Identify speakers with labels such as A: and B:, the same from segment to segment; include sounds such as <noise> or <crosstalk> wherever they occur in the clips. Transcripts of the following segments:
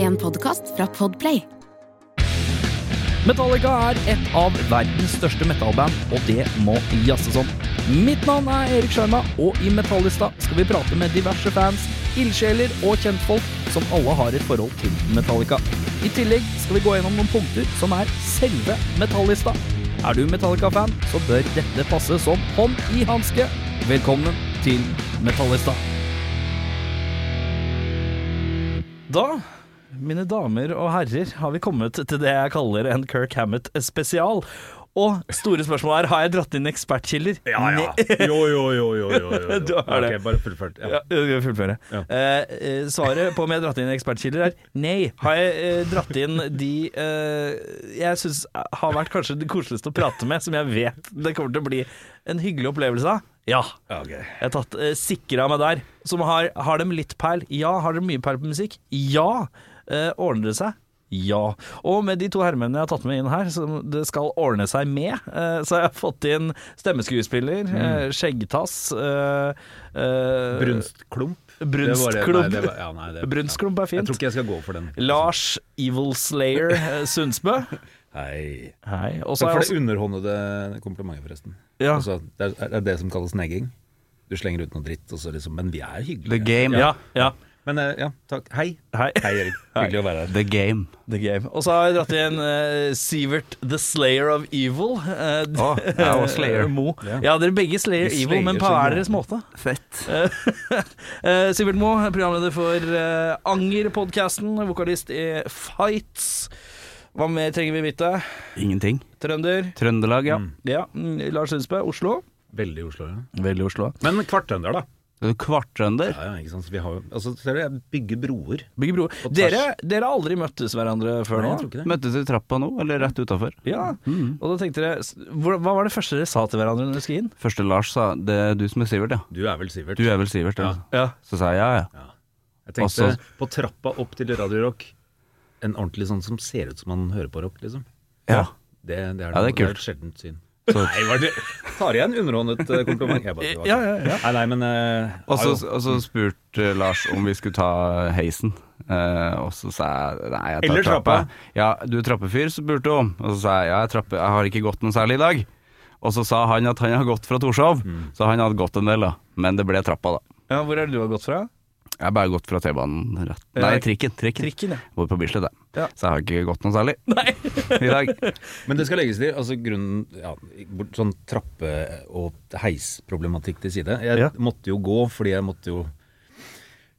A: En podkast fra Podplay.
B: Metallica er et av verdens største metallband, og det må jazzes om. Mitt navn er Erik Skjerma, og i Metallista skal vi prate med diverse fans, ildsjeler og kjentfolk som alle har et forhold til Metallica. I tillegg skal vi gå gjennom noen punkter som er selve Metallista. Er du Metallica-fan, så bør dette passe som hånd i hanske. Velkommen til Metallista. Da mine damer og herrer, har vi kommet til det jeg kaller en Kirk Hammett spesial. Og store spørsmål her, har jeg dratt inn ekspertkilder?
C: Ja, ja. Jo, jo, jo. jo, jo, jo.
B: <laughs> Du har det.
C: Ok, bare fullført. Ja.
B: <laughs> Ja, jeg skal fullføre. Eh, eh, svaret på om jeg har dratt inn ekspertkilder er nei. Har jeg eh, dratt inn de eh, jeg syns har vært kanskje det koseligste å prate med, som jeg vet det kommer til å bli en hyggelig opplevelse av? Ja.
C: Ja, ok.
B: Jeg har tatt eh, sikra meg der. Som har, har dem litt peil? Ja. Har dere mye peil på musikk? Ja. Eh, ordner det seg? Ja. Og med de to hermene jeg har tatt med inn her, som det skal ordne seg med, eh, så har jeg fått inn stemmeskuespiller,
C: Mm.
B: eh, skjeggtass eh, eh,
C: Brunstklump. Det var
B: Brunstklump.
C: det- nei, det var- ja, nei, det-
B: Brunstklump er
C: Jeg
B: fint.
C: tror ikke jeg skal gå for den.
B: Lars Evil Slayer eh, Sundsbø.
C: Hei.
B: Hei. Og så har
C: Takk for
B: jeg
C: det
B: også
C: underhåndede komplimentet, forresten.
B: ja.
C: Altså, det er, er det som kalles negging. Du slenger ut noe dritt, og så liksom Men vi er hyggelige.
D: The game.
B: ja, ja.
C: Men eh, ja, takk. Hei.
B: <laughs> Hei.
C: Hei, Erik. Hyggelig å være her.
D: The game.
B: The Game. Og så har jeg dratt inn eh, Sivert The Slayer of Evil. eh,
D: Å, jeg var <laughs> Slayer.
B: Mo.
C: Ja.
B: Ja, dere er begge Slayer
C: Vi
B: Evil, men
C: slayer
B: på
C: som
B: hver deres måte.
D: Fett.
B: Eh, <laughs> Sivert Mo, programleder for eh, Anger-podkasten, vokalist i Fights. Hva mer trenger vi vite?
D: Ingenting.
B: Trønder.
D: Trøndelag, ja.
B: Ja. mm, Lars Sundsbø, Oslo.
C: Veldig i Oslo, ja.
B: Veldig Oslo.
C: Men kvarttrønder, da.
D: Er du kvarttrønder?
C: Ja, ja, ikke sant. Så vi har jo Altså, ser du, jeg bygger broer.
B: Bygge bro.
C: tvers.
B: Dere, dere har aldri møttes hverandre før
C: Nei,
B: nå?
C: jeg tror ikke det. Mm.
D: Møttes i trappa nå, eller rett utafor?
B: Ja. Og da tenkte dere s- hvor- Hva var det første dere sa til hverandre når dere skulle inn?
D: Første Lars sa det er du som er Sivert, ja.
C: Du er vel Sivert?
D: Du er vel Sivert, ja.
B: Ja.
D: Så sa jeg ja, ja.
C: Jeg tenkte
D: Altså-
C: på trappa opp til Radio Rock. En ordentlig sånn som ser ut som man hører på rock, liksom.
D: Ja,
C: Det, det, er,
D: Ja, det er
C: noe- et
D: kult.
C: sjeldent syn.
D: Så-
C: <laughs> Nei, var det Tar jeg en underhåndet eh, kompliment? Jeg bare,
D: <laughs>
C: det var
B: Ja,
C: sånn.
B: ja, ja.
C: Nei, nei, men eh,
D: Og Altså, så,
C: har jo-
D: og så spurte Lars om vi skulle ta heisen. Eh, og så sa jeg nei, jeg tar
C: Eller
D: trappa.
C: trappa.
D: Ja, du er trappefyr, spurte hun. Og så sa jeg ja, jeg, er trappe, jeg har ikke gått noe særlig i dag. Og så sa han at han har gått fra Torshov, så han hadde gått en del, da. Men det ble trappa, da.
B: ja. Hvor er det du har gått fra?
D: Jeg har bare gått fra T-banen rett
B: Ja.
D: Nei, trikken. trikken.
B: Trikken, ja.
D: Bor på Bislett, jeg.
B: Ja.
D: Så jeg har ikke gått noe særlig <laughs> i dag.
C: <laughs> Men det skal legges til. Altså grunnen ja, bort- Sånn trappe- og heisproblematikk til side. Jeg
B: Ja.
C: måtte jo gå fordi jeg måtte jo <sighs>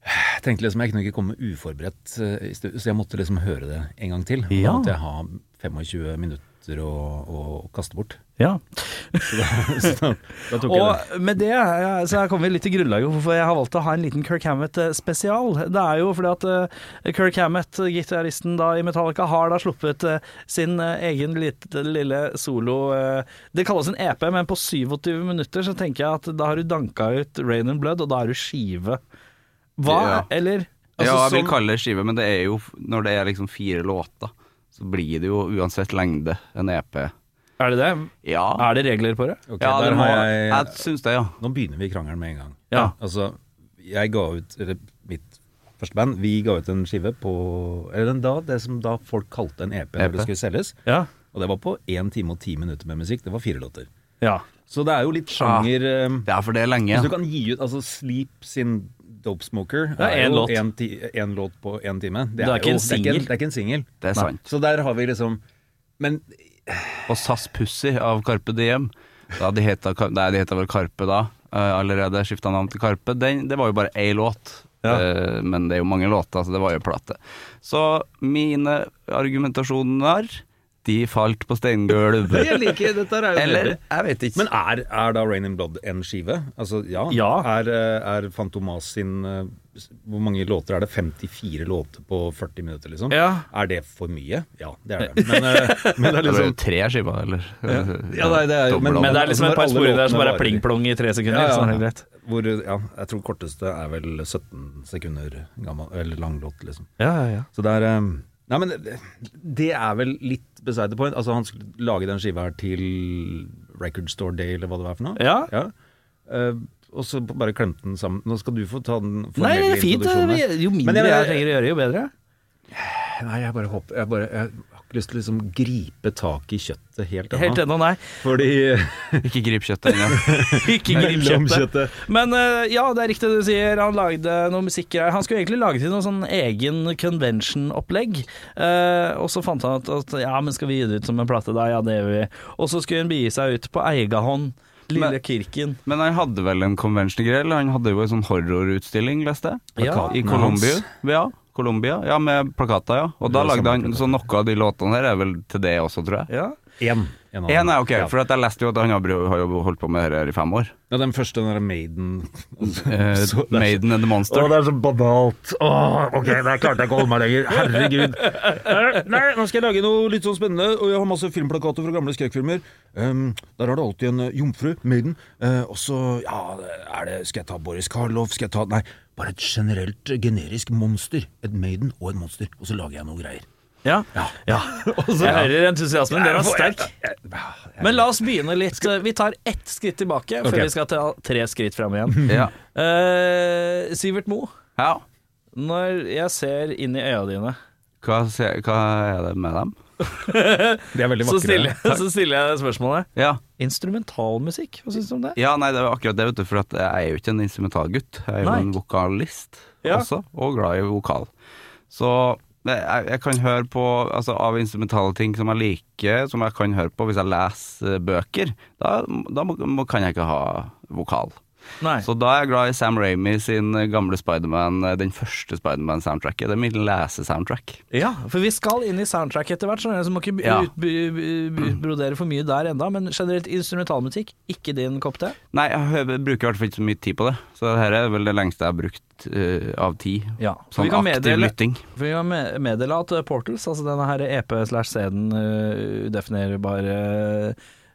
C: jeg tenkte liksom, Jeg kunne ikke komme uforberedt, eh, i stu- så jeg måtte liksom høre det en gang til. Da
B: Ja.
C: måtte jeg ha 25 minutter å, å, kaste bort.
B: Ja.
C: Så da, så da, da tok jeg det.
B: Og med det ja, så her kommer vi litt til grunnlaget hvorfor jeg har valgt å ha en liten Kirk Hammett-spesial. Det er jo fordi at eh, Kirk Hammett, gitaristen da i Metallica, har da sluppet eh, sin eh, egen lite, lille solo eh, Det kalles en EP, men på 27 minutter så tenker jeg at da har du danka ut Rain and Blood, og da er du skive. Hva?
D: Ja.
B: Eller? Altså,
C: Altså,
D: ja, jeg
C: sånn-
D: vil
B: som-
D: kalle det skive, men det er jo når det er liksom fire låter, så blir det jo uansett lengde en EP.
B: Er det det?
D: Ja,
B: Er det regler på det?
C: Ah, Ok,
D: ja
C: der
D: det
C: har
D: må, jeg,
C: jeg-
D: syns det, ja.
C: Nå begynner vi krangelen med en gang.
B: Ja.
C: Altså, jeg ga ut Eller mitt første band, vi ga ut en skive på Eller den da, det som da folk kalte en EP,
D: EP.
C: når det skulle selges.
B: Ja.
C: Og det var på én time og ti minutter med musikk. Det var fire låter.
B: ja.
C: Så det er jo litt sjanger eh,
D: Det er for det er lenge.
C: Hvis du kan gi ut Altså Sleep sin Dope Smoker
B: er en
C: jo
B: låt.
C: En, ti, en låt på én time.
B: Det er ikke en
C: jo, det er ikke
B: singel.
C: en- Det er ikke en singel.
D: Det er
B: Nei.
D: sant.
C: Så der har vi liksom Men
D: Og SAS Pussy av Karpe Diem. Da de heta, Kar- nei, de heta vel Karpe da. eh, allerede skifta navn til Karpe. Den, det var jo bare ei låt.
B: Ja.
D: Eh, men det er jo mange låter, så det var jo plate. Så mine argumentasjoner, de falt på steingulv.
C: <laughs> jeg liker Dette her er jo
D: Eller jeg vet ikke.
C: Men er, er da Rain in Blood en skive? Altså, ja.
B: Ja.
C: Er, eh, er Fantomas sin eh, s- Hvor mange låter er det? 54 låter på 40 minutter, liksom?
B: Ja.
C: Er det for mye? Ja, det er <laughs> det. Men, eh, men det er
D: det ble jo
C: liksom
D: tre skiver, eller?
B: <laughs>
C: Ja, nei, det er jo-
D: Dobbel
B: Men det er liksom
C: Altså,
B: et par
C: når alle
B: spor der som
C: låtene
B: bare er
C: varer.
B: pling-plong i tre sekunder.
C: Ja, ja.
B: så er det greit.
C: hvor, ja, jeg tror korteste er vel 17 sekunder gammel, eller lang låt, liksom.
B: Ja, ja, ja.
C: Så det er eh, Nei, men det- det er vel litt beside the point. Altså, han skulle lage den skiva her til Record Store Day, eller hva det var for noe.
B: Ja.
C: Ja. Eh, og så bare klemte den sammen. Nå skal du få ta den
B: Nei,
C: formelle
B: det er fint.
C: introduksjonen
B: det
C: her.
B: er- Jo
C: Men
B: mindre
C: jeg-
B: jeg trenger å gjøre, jo bedre.
C: eh, Nei, jeg bare håper Jeg, bare, jeg har ikke lyst til å liksom gripe tak i kjøttet helt
B: Helt
C: ennå.
B: ennå, nei.
C: Fordi
D: Ikke grip kjøttet ennå.
B: Ikke grip
C: <laughs> Mellom
B: kjøttet. Men eh, ja, det er riktig det du sier. Han lagde noe musikkgreier. Han skulle egentlig lage til noe sånn egen convention-opplegg. Eh, og så fant han ut at ja, men skal vi gi det ut som en plate da? Ja, det gjør vi. Og så skulle hun bie seg ut på egen hånd. Lille
D: Men-
B: Kirken.
D: Men han hadde vel en convention grill? Han hadde jo en sånn horrorutstilling, leste jeg.
B: Ja.
D: I
C: Plakaten
D: Colombia.
C: hans.
D: Ja, Colombia. Ja, med plakater, ja. Og
C: Det
D: da
C: var
D: lagde
C: samme
D: han Så noe av de låtene her er vel til det også, tror jeg.
B: Ja.
C: Én. En av
D: Én
C: dem.
D: er ok,
C: Ja.
D: for at jeg leste jo at han har br- har jo holdt på med det her i
C: <laughs>
D: fem år.
C: ja, den første, den der Maiden <laughs>
D: Eh,
C: Så-
D: Maiden and the Monster.
C: det er så banalt. ok, der klarte jeg ikke å holde meg lenger. Herregud. Eh, Nei, nå skal jeg lage noe litt sånn spennende, og jeg har masse filmplakater fra gamle skrekkfilmer. Um, der har du alltid en eh, jomfru, Maiden. Eh, og så, ja, er det Skal jeg ta Boris Karloff? Skal jeg ta Nei, bare et generelt eh, generisk monster. Et Maiden og et monster. Og så lager jeg noe greier.
B: Ja. Jeg hører entusiasmen. Den er sterk. Men la oss begynne litt. Vi tar ett skritt tilbake før
C: Ok.
B: vi skal ta tre skritt fram igjen.
D: Ja.
B: Eh, Sivert Moe,
D: ja.
B: når jeg ser inn i øya dine,
D: Hva, se, hva er det med dem?
C: Det er veldig
B: så stiller, <laughs> så stiller jeg spørsmålet
D: Ja.
B: Instrumentalmusikk, hva syns du om det?
D: ja, nei, det var akkurat det, vet du. For at jeg er jo ikke en instrumentalgutt. Jeg er jo
B: Nei.
D: en vokalist
B: Ja.
D: også, og glad i vokal. Så jeg, jeg kan høre på Altså av instrumentale ting som jeg liker, som jeg kan høre på hvis jeg leser eh, bøker, da, da må, må, kan jeg ikke ha vokal.
B: Nei.
D: Så da er jeg glad i Sam Ramy sin gamle Spiderman, eh, den første Spiderman-soundtracket. Det er mitt lesesoundtrack.
B: Ja, for vi skal inn i soundtrack etter hvert, skjønner du, så må ikke b-
D: Ja.
B: ut- b- b- utbrodere for mye der enda, men generelt instrumentalmusikk, ikke din kopp te.
D: Nei, jeg hø- bruker i hvert fall ikke så mye tid på det. Så dette er vel det lengste jeg har brukt eh, av tid.
B: Ja. For
D: Sånn
B: vi kan
D: aktiv
B: meddele,
D: lytting.
B: for vi kan me- meddele at eh, Portals, altså denne her EP-slash-CD-en, udefinerbare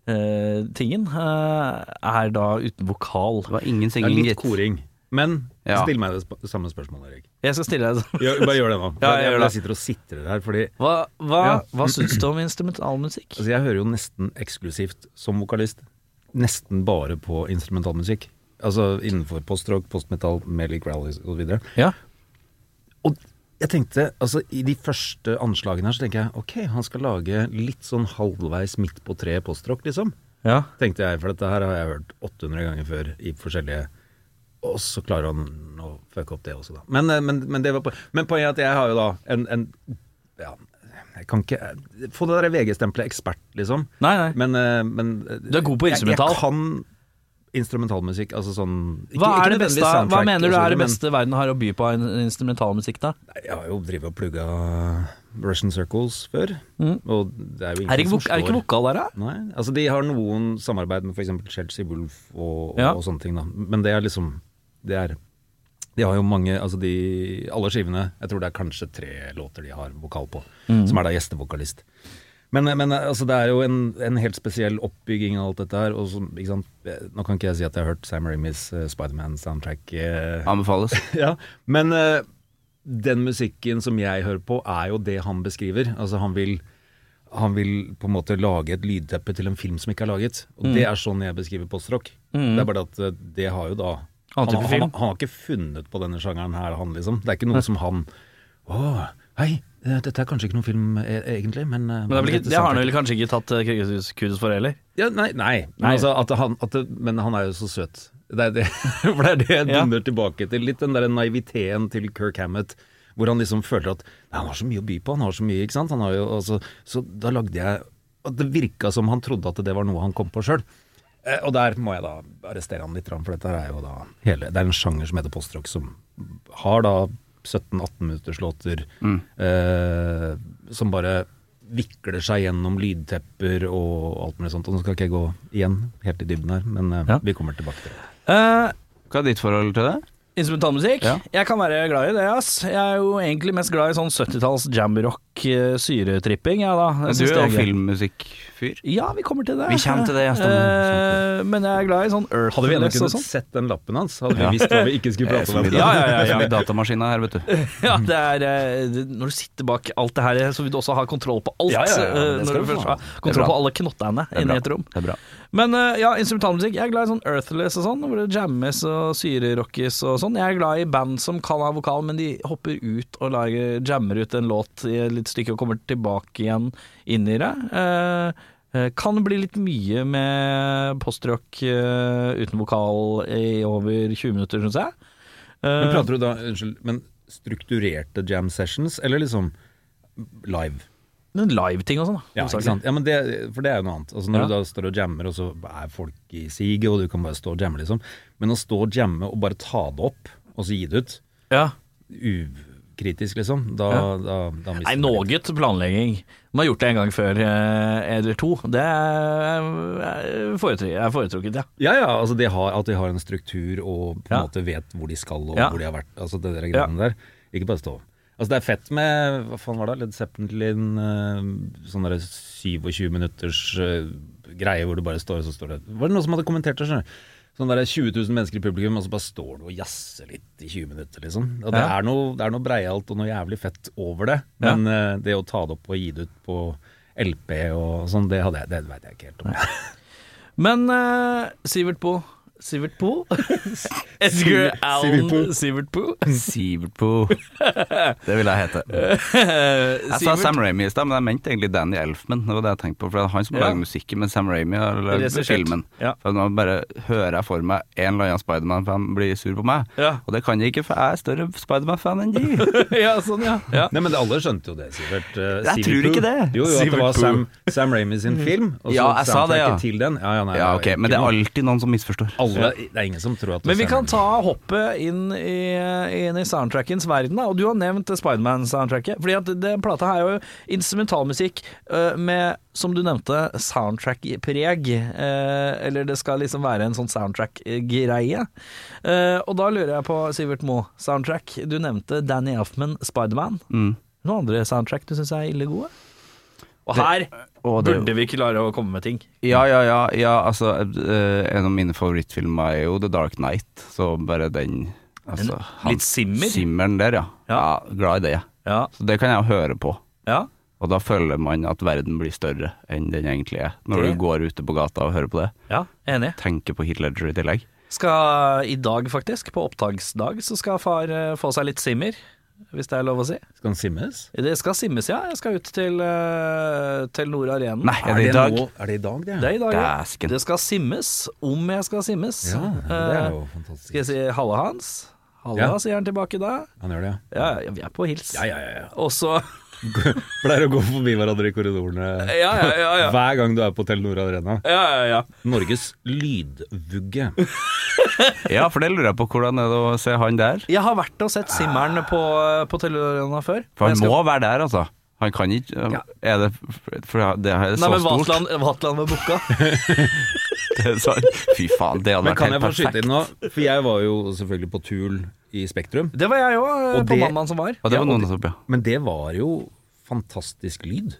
B: eh, tingen, eh, er da uten vokal.
D: Det var ingen singing, gitt.
C: koring. Men
D: Ja.
C: still meg det sp- samme spørsmålet, Erik.
B: Jeg skal stille deg sånn.
C: Gjør- Bare gjør det nå.
B: Ja, jeg gjør
C: bare
B: det.
C: sitter og sitrer her, fordi
B: Hva, hva,
C: Ja.
B: hva syns du om instrumentalmusikk?
C: Altså, jeg hører jo nesten eksklusivt som vokalist nesten bare på instrumentalmusikk. Altså innenfor postrock, postmetall, Melly Crowley osv.
B: Ja.
C: Og jeg tenkte, altså i de første anslagene her, så tenker jeg ok, han skal lage litt sånn halvveis midt på treet postrock, liksom.
B: Ja.
C: Tenkte jeg, for dette her har jeg hørt 800 ganger før i forskjellige Og så klarer han å fucke opp det også, da. Men, eh, men, men, det var på, men poenget er at jeg har jo da en, en Ja, jeg kan ikke eh, Få det der VG-stempelet ekspert, liksom.
B: Nei, nei.
C: Men, eh, men
B: Du er god på instrumental.
C: Jeg, jeg kan instrumentalmusikk. Altså sånn ikke-
B: Hva,
C: ikke
B: er det
C: nødvendigvis
B: beste, hva
C: soundtrack
B: mener du
C: og så
B: er det
C: videre,
B: beste verden har å by på av in- instrumentalmusikk, da?
C: Men, nei, jeg har jo drevet og plugga Russian Circles før, og det er jo
B: Mm. Er det
C: ingen
B: ikke,
C: som
B: vok er det ikke
C: slår
B: vokal der, da?
C: Nei, altså de har noen samarbeid med f.eks. Chelsea Wolf og, og,
B: Ja.
C: og sånne ting, da. Men det er liksom Det er De har jo mange Altså de Alle skivene Jeg tror det er kanskje tre låter de har vokal på, som er da gjestevokalist. Men, men altså, det er jo en, en helt spesiell oppbygging av alt dette her. Og så, ikke sant? Nå kan ikke jeg si at jeg har hørt Sam Ramys uh, Spiderman-soundtrack. eh,
D: Anbefales.
C: <laughs> ja, men eh, den musikken som jeg hører på, er jo det han beskriver. Altså, han vil, han vil på en måte lage et lydteppe til en film som ikke er laget. Og
B: Mm.
C: det er sånn jeg beskriver postrock. Det er bare at eh, det har jo da
B: Annen
C: han,
B: type
C: han,
B: film.
C: han, har ikke funnet på denne sjangeren her, han liksom. Det er ikke noe som han Å, hei, eh, dette er kanskje ikke noen film eh, egentlig, men eh,
B: Men det, er vel ikke,
C: dette
B: det har han
C: soundtracket-
B: vel kanskje ikke tatt eh, kudos kudos for heller?
C: ja, nei, nei. Men,
B: Nei.
C: Altså, at han, at det, men han er jo så søt. Det er det, <laughs> for det er det jeg
B: Ja.
C: dunder tilbake til. Litt den der naiviteen til Kirk Hammett. Hvor han liksom føler at nei, han har så mye å by på. Han har så mye, ikke sant. Han har jo, altså, så da lagde jeg at Det virka som han trodde at det var noe han kom på sjøl. Eh, og der må jeg da arrestere han litt, for dette her er jo da hele Det er en sjanger som heter postrock, som har da 17-18 minutters låter
B: Mm.
C: eh, som bare vikler seg gjennom lydtepper og alt mulig sånt. Og nå skal ikke jeg gå igjen helt i dybden her, men eh,
B: Ja.
C: vi kommer tilbake til det.
B: Eh,
D: Hva er ditt forhold til det?
B: instrumentalmusikk?
D: Ja.
B: Jeg kan være glad i det, ass. Jeg er jo egentlig mest glad i sånn 70-talls jamrock nok eh, syretripping, jeg ja, da. Jeg
D: Du
B: synes
D: er jo
B: det gøy.
D: filmmusikkfyr.
B: Ja, vi kommer til det.
D: Vi kommer til det, ja,
B: Eh,
D: stemmer.
B: men jeg er glad i sånn Earth
C: Hadde vi ennå
B: og
C: kunnet
B: sånn.
C: sett den lappen hans, hadde vi
D: Ja.
C: visst hva vi ikke skulle prate om. i dag.
B: Ja, ja,
C: <laughs>
B: ja, ja.
D: Som i datamaskina her,
B: <laughs>
D: vet du.
B: Ja, det er, eh, det- når du sitter bak alt det her, så vil du også ha kontroll på alt.
D: Ja, ja, ja,
B: eh, når
D: det skal
B: du
D: du
B: først
D: få.
B: har
D: Det er
B: kontroll
D: bra.
B: på alle knottene
D: er
B: inne i
D: bra.
B: et rom.
D: Det er bra.
B: Men eh, ja, instrumentalmusikk. Jeg er glad i sånn earthless og sånn, hvor det jammes og syrerockes og sånn. Jeg er glad i band som kan ha vokal, men de hopper ut og lager, jammer ut en låt i et litt stykke og kommer tilbake igjen inn i det. Eh, eh, kan bli litt mye med postrock eh, uten vokal i over 20 minutter, syns jeg. Eh,
C: Men prater du da, unnskyld, men strukturerte jam sessions, eller liksom live?
B: men live-ting og sånn, da.
C: Ja,
B: hovedsakelig.
C: ikke sant? Ja, men det, for det er jo noe annet. Altså, når
B: Ja.
C: du da står og jammer, og så er folk i siget, og du kan bare stå og jamme, liksom. Men å stå og jamme og bare ta det opp, og så gi det ut,
B: Ja.
C: ukritisk, liksom, da,
B: Ja.
C: da, da mister
B: Nei,
C: man litt.
B: noe planlegging. Man har gjort det en gang før, eh, eller to. Det er foretrukket, er foretrukket ja.
C: Ja, ja, altså de har, at de har en struktur og på en
B: Ja.
C: måte vet hvor de skal og
B: Ja.
C: hvor de har vært. Altså det der greiene der. Ikke bare stå. Altså det er fett med, hva faen var det, Led Zeppelin, eh, sånn der 27 minutters eh, greie hvor du bare står og så står det. Var det noen som hadde kommentert det, skjønner du? Sånn der 20 000 mennesker i publikum, og så bare står du og jazzer litt i 20 minutter, liksom. Og det,
B: Ja.
C: er noe, det er noe breialt og noe jævlig fett over det,
B: Ja.
C: men eh, det å ta det opp og gi det ut på LP og sånn, det, hadde jeg, det vet jeg ikke helt om.
B: Men eh, Sivert Poe Sivert <laughs> Poe? Edgar Allan Sivert <laughs> Poe?
D: Sivertpo. Det vil jeg hete. Jeg sa Sam Ramy i stad, men jeg mente egentlig Danny Elfman. Det var det jeg tenkte på, for det er han som
B: Ja.
D: lager musikken, men Sam Ramy har lagd
B: Regissert.
D: filmen.
B: Ja.
D: For Nå bare hører jeg for meg en eller annen Spiderman-fan bli sur på meg,
B: Ja.
D: og det kan jeg ikke, for jeg er større Spiderman-fan enn
B: <laughs>
D: de.
B: ja, sånn, ja. ja.
C: Nei, men alle skjønte jo det, Sivert. Eh,
D: Jeg
C: Sivert
D: tror
C: Pooh.
D: ikke det.
C: Jo, jo, at det
D: Sivert
C: var
D: Pooh.
C: Sam, Sam Raimi sin film, og så
D: Ja, jeg sa det, ja.
C: soundtracket til den. Ja, ja, nei, det
D: Ja, ok,
C: er ikke
D: men det er
C: noe-
D: alltid noen som misforstår.
C: alle, Det er ingen som tror at
B: Men vi
C: Sam
B: kan
C: Raimi-
B: ta hoppet inn i, inn i soundtrackens verden, da. Og du har nevnt Spiderman-soundtracket. Fordi at den plata her er jo instrumentalmusikk øh, med, som du nevnte, soundtrack-preg. Eh, eller det skal liksom være en sånn soundtrack-greie. Eh, og da lurer jeg på, Sivert Moe, soundtrack. Du nevnte Danny Elfman, Spiderman.
D: Mm.
B: Noen andre soundtrack du syns er ille gode? Og her
D: Og det,
B: burde vi klare å komme med ting.
D: ja, ja, ja, ja, altså eh, En av mine favorittfilmer er jo The Dark Knight, så bare den altså, han-
B: Litt simmer.
D: Simmeren der, ja.
B: Ja.
D: ja. Glad i det. ja.
B: Ja.
D: Så det kan jeg jo høre på.
B: ja.
D: Og da føler man at verden blir større enn den egentlig er, når
B: Det-
D: du går ute på gata og hører på det.
B: Ja, enig.
D: Tenker på Heath Ledger i tillegg.
B: Skal i dag faktisk, på opptaksdag, så skal far eh, få seg litt simmer. Hvis det er lov å si.
C: Skal han simmes?
B: Det skal simmes, ja. Jeg skal ut til, eh, til Nord Arenen.
D: Nei, er det i dag?
C: nå- er det i dag, det?
B: Det er i dag, ja.
D: Dæsken.
B: Det skal simmes, om jeg skal simmes.
C: ja,
D: altså.
C: det er jo
B: Eh,
C: fantastisk.
B: Skal jeg si halla hans? Halla,
C: Ja.
B: sier han tilbake da.
C: Han gjør det, ja.
B: Ja, ja, vi er på hils.
C: Ja, ja, ja. ja. <laughs>
B: Og så <laughs>
C: Pleier å gå forbi hverandre i korridorene
B: Ja, ja, ja.
C: <laughs>
B: ja.
C: hver gang du er på Telenor Arena.
B: Ja, ja, ja.
C: Norges lydvugge.
D: Ja, for det lurer jeg på. Hvordan er det å se han der?
B: Jeg har vært og sett Simmeren på, på Telenor Arena før.
D: For
B: Jeg
D: han
B: skal-
D: må være der, altså. Han kan ikke Er det For det er så
B: Nei, men
D: stort.
B: Vatland, Vatland var booka.
D: <laughs>
C: <laughs>
D: Det er så, fy faen, det hadde
C: Men
D: vært
C: kan jeg
D: helt
C: få skyte
D: perfekt.
C: inn nå? For jeg var jo selvfølgelig på Tul i Spektrum.
B: Det var jeg òg,
C: Og
B: på
C: det-
B: mandagen som var.
D: Og det
C: Ja, og
D: var noen
C: det-
D: som ja.
C: Men det var jo fantastisk lyd.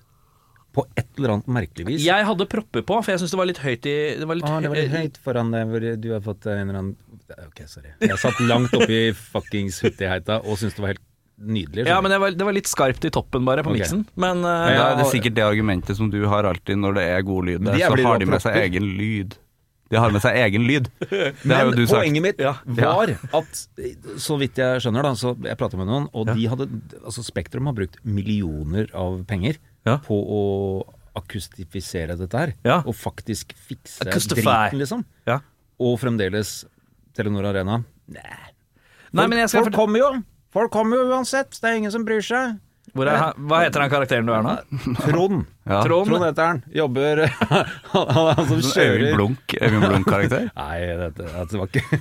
C: På et eller annet merkelig vis.
B: Jeg hadde propper på, for jeg syns det var litt høyt i det var litt,
C: Ah, det var
B: eh,
C: litt høyt foran deg hvor du har fått eh, en eller annen Ok, sorry. Jeg satt langt oppi fuckings huttigheita og syntes det var helt nydelig.
B: Ja, men det var, det var litt skarpt i toppen, bare, på
C: Ok.
B: miksen. Men eh,
D: Men da er det
B: og-
D: sikkert det argumentet som du har alltid når det er god lyd
C: Men
D: der,
C: de er
D: så
C: blir
D: har de med seg
C: propper.
D: egen lyd. De har med seg egen lyd.
B: <laughs>
D: Det har jo du sagt.
C: poenget mitt
B: Ja.
C: var at så vidt jeg skjønner, da, så jeg prata med noen, og de hadde Altså, Spektrum har brukt millioner av penger
B: Ja.
C: på å akustifisere dette her.
B: Ja.
C: Og faktisk fikse
B: Acoustify.
C: driten, liksom.
B: ja.
C: Og fremdeles Telenor Arena. Nei.
B: Nei, men jeg skal
C: folk
B: fortelle
C: kommer jo! Folk kommer jo uansett! Det er ingen som bryr
D: <laughs>
C: seg.
B: Hvor er- Hva heter den karakteren du er nå?
C: Trond.
D: Ja.
B: Trond.
C: Trond heter han. Jobber <laughs> Han han er han som
D: Sånn Øyvind
C: kjører
D: Blunk, Øyvind Blunk-karakter.
B: <laughs>
C: Nei, dette, dette var ikke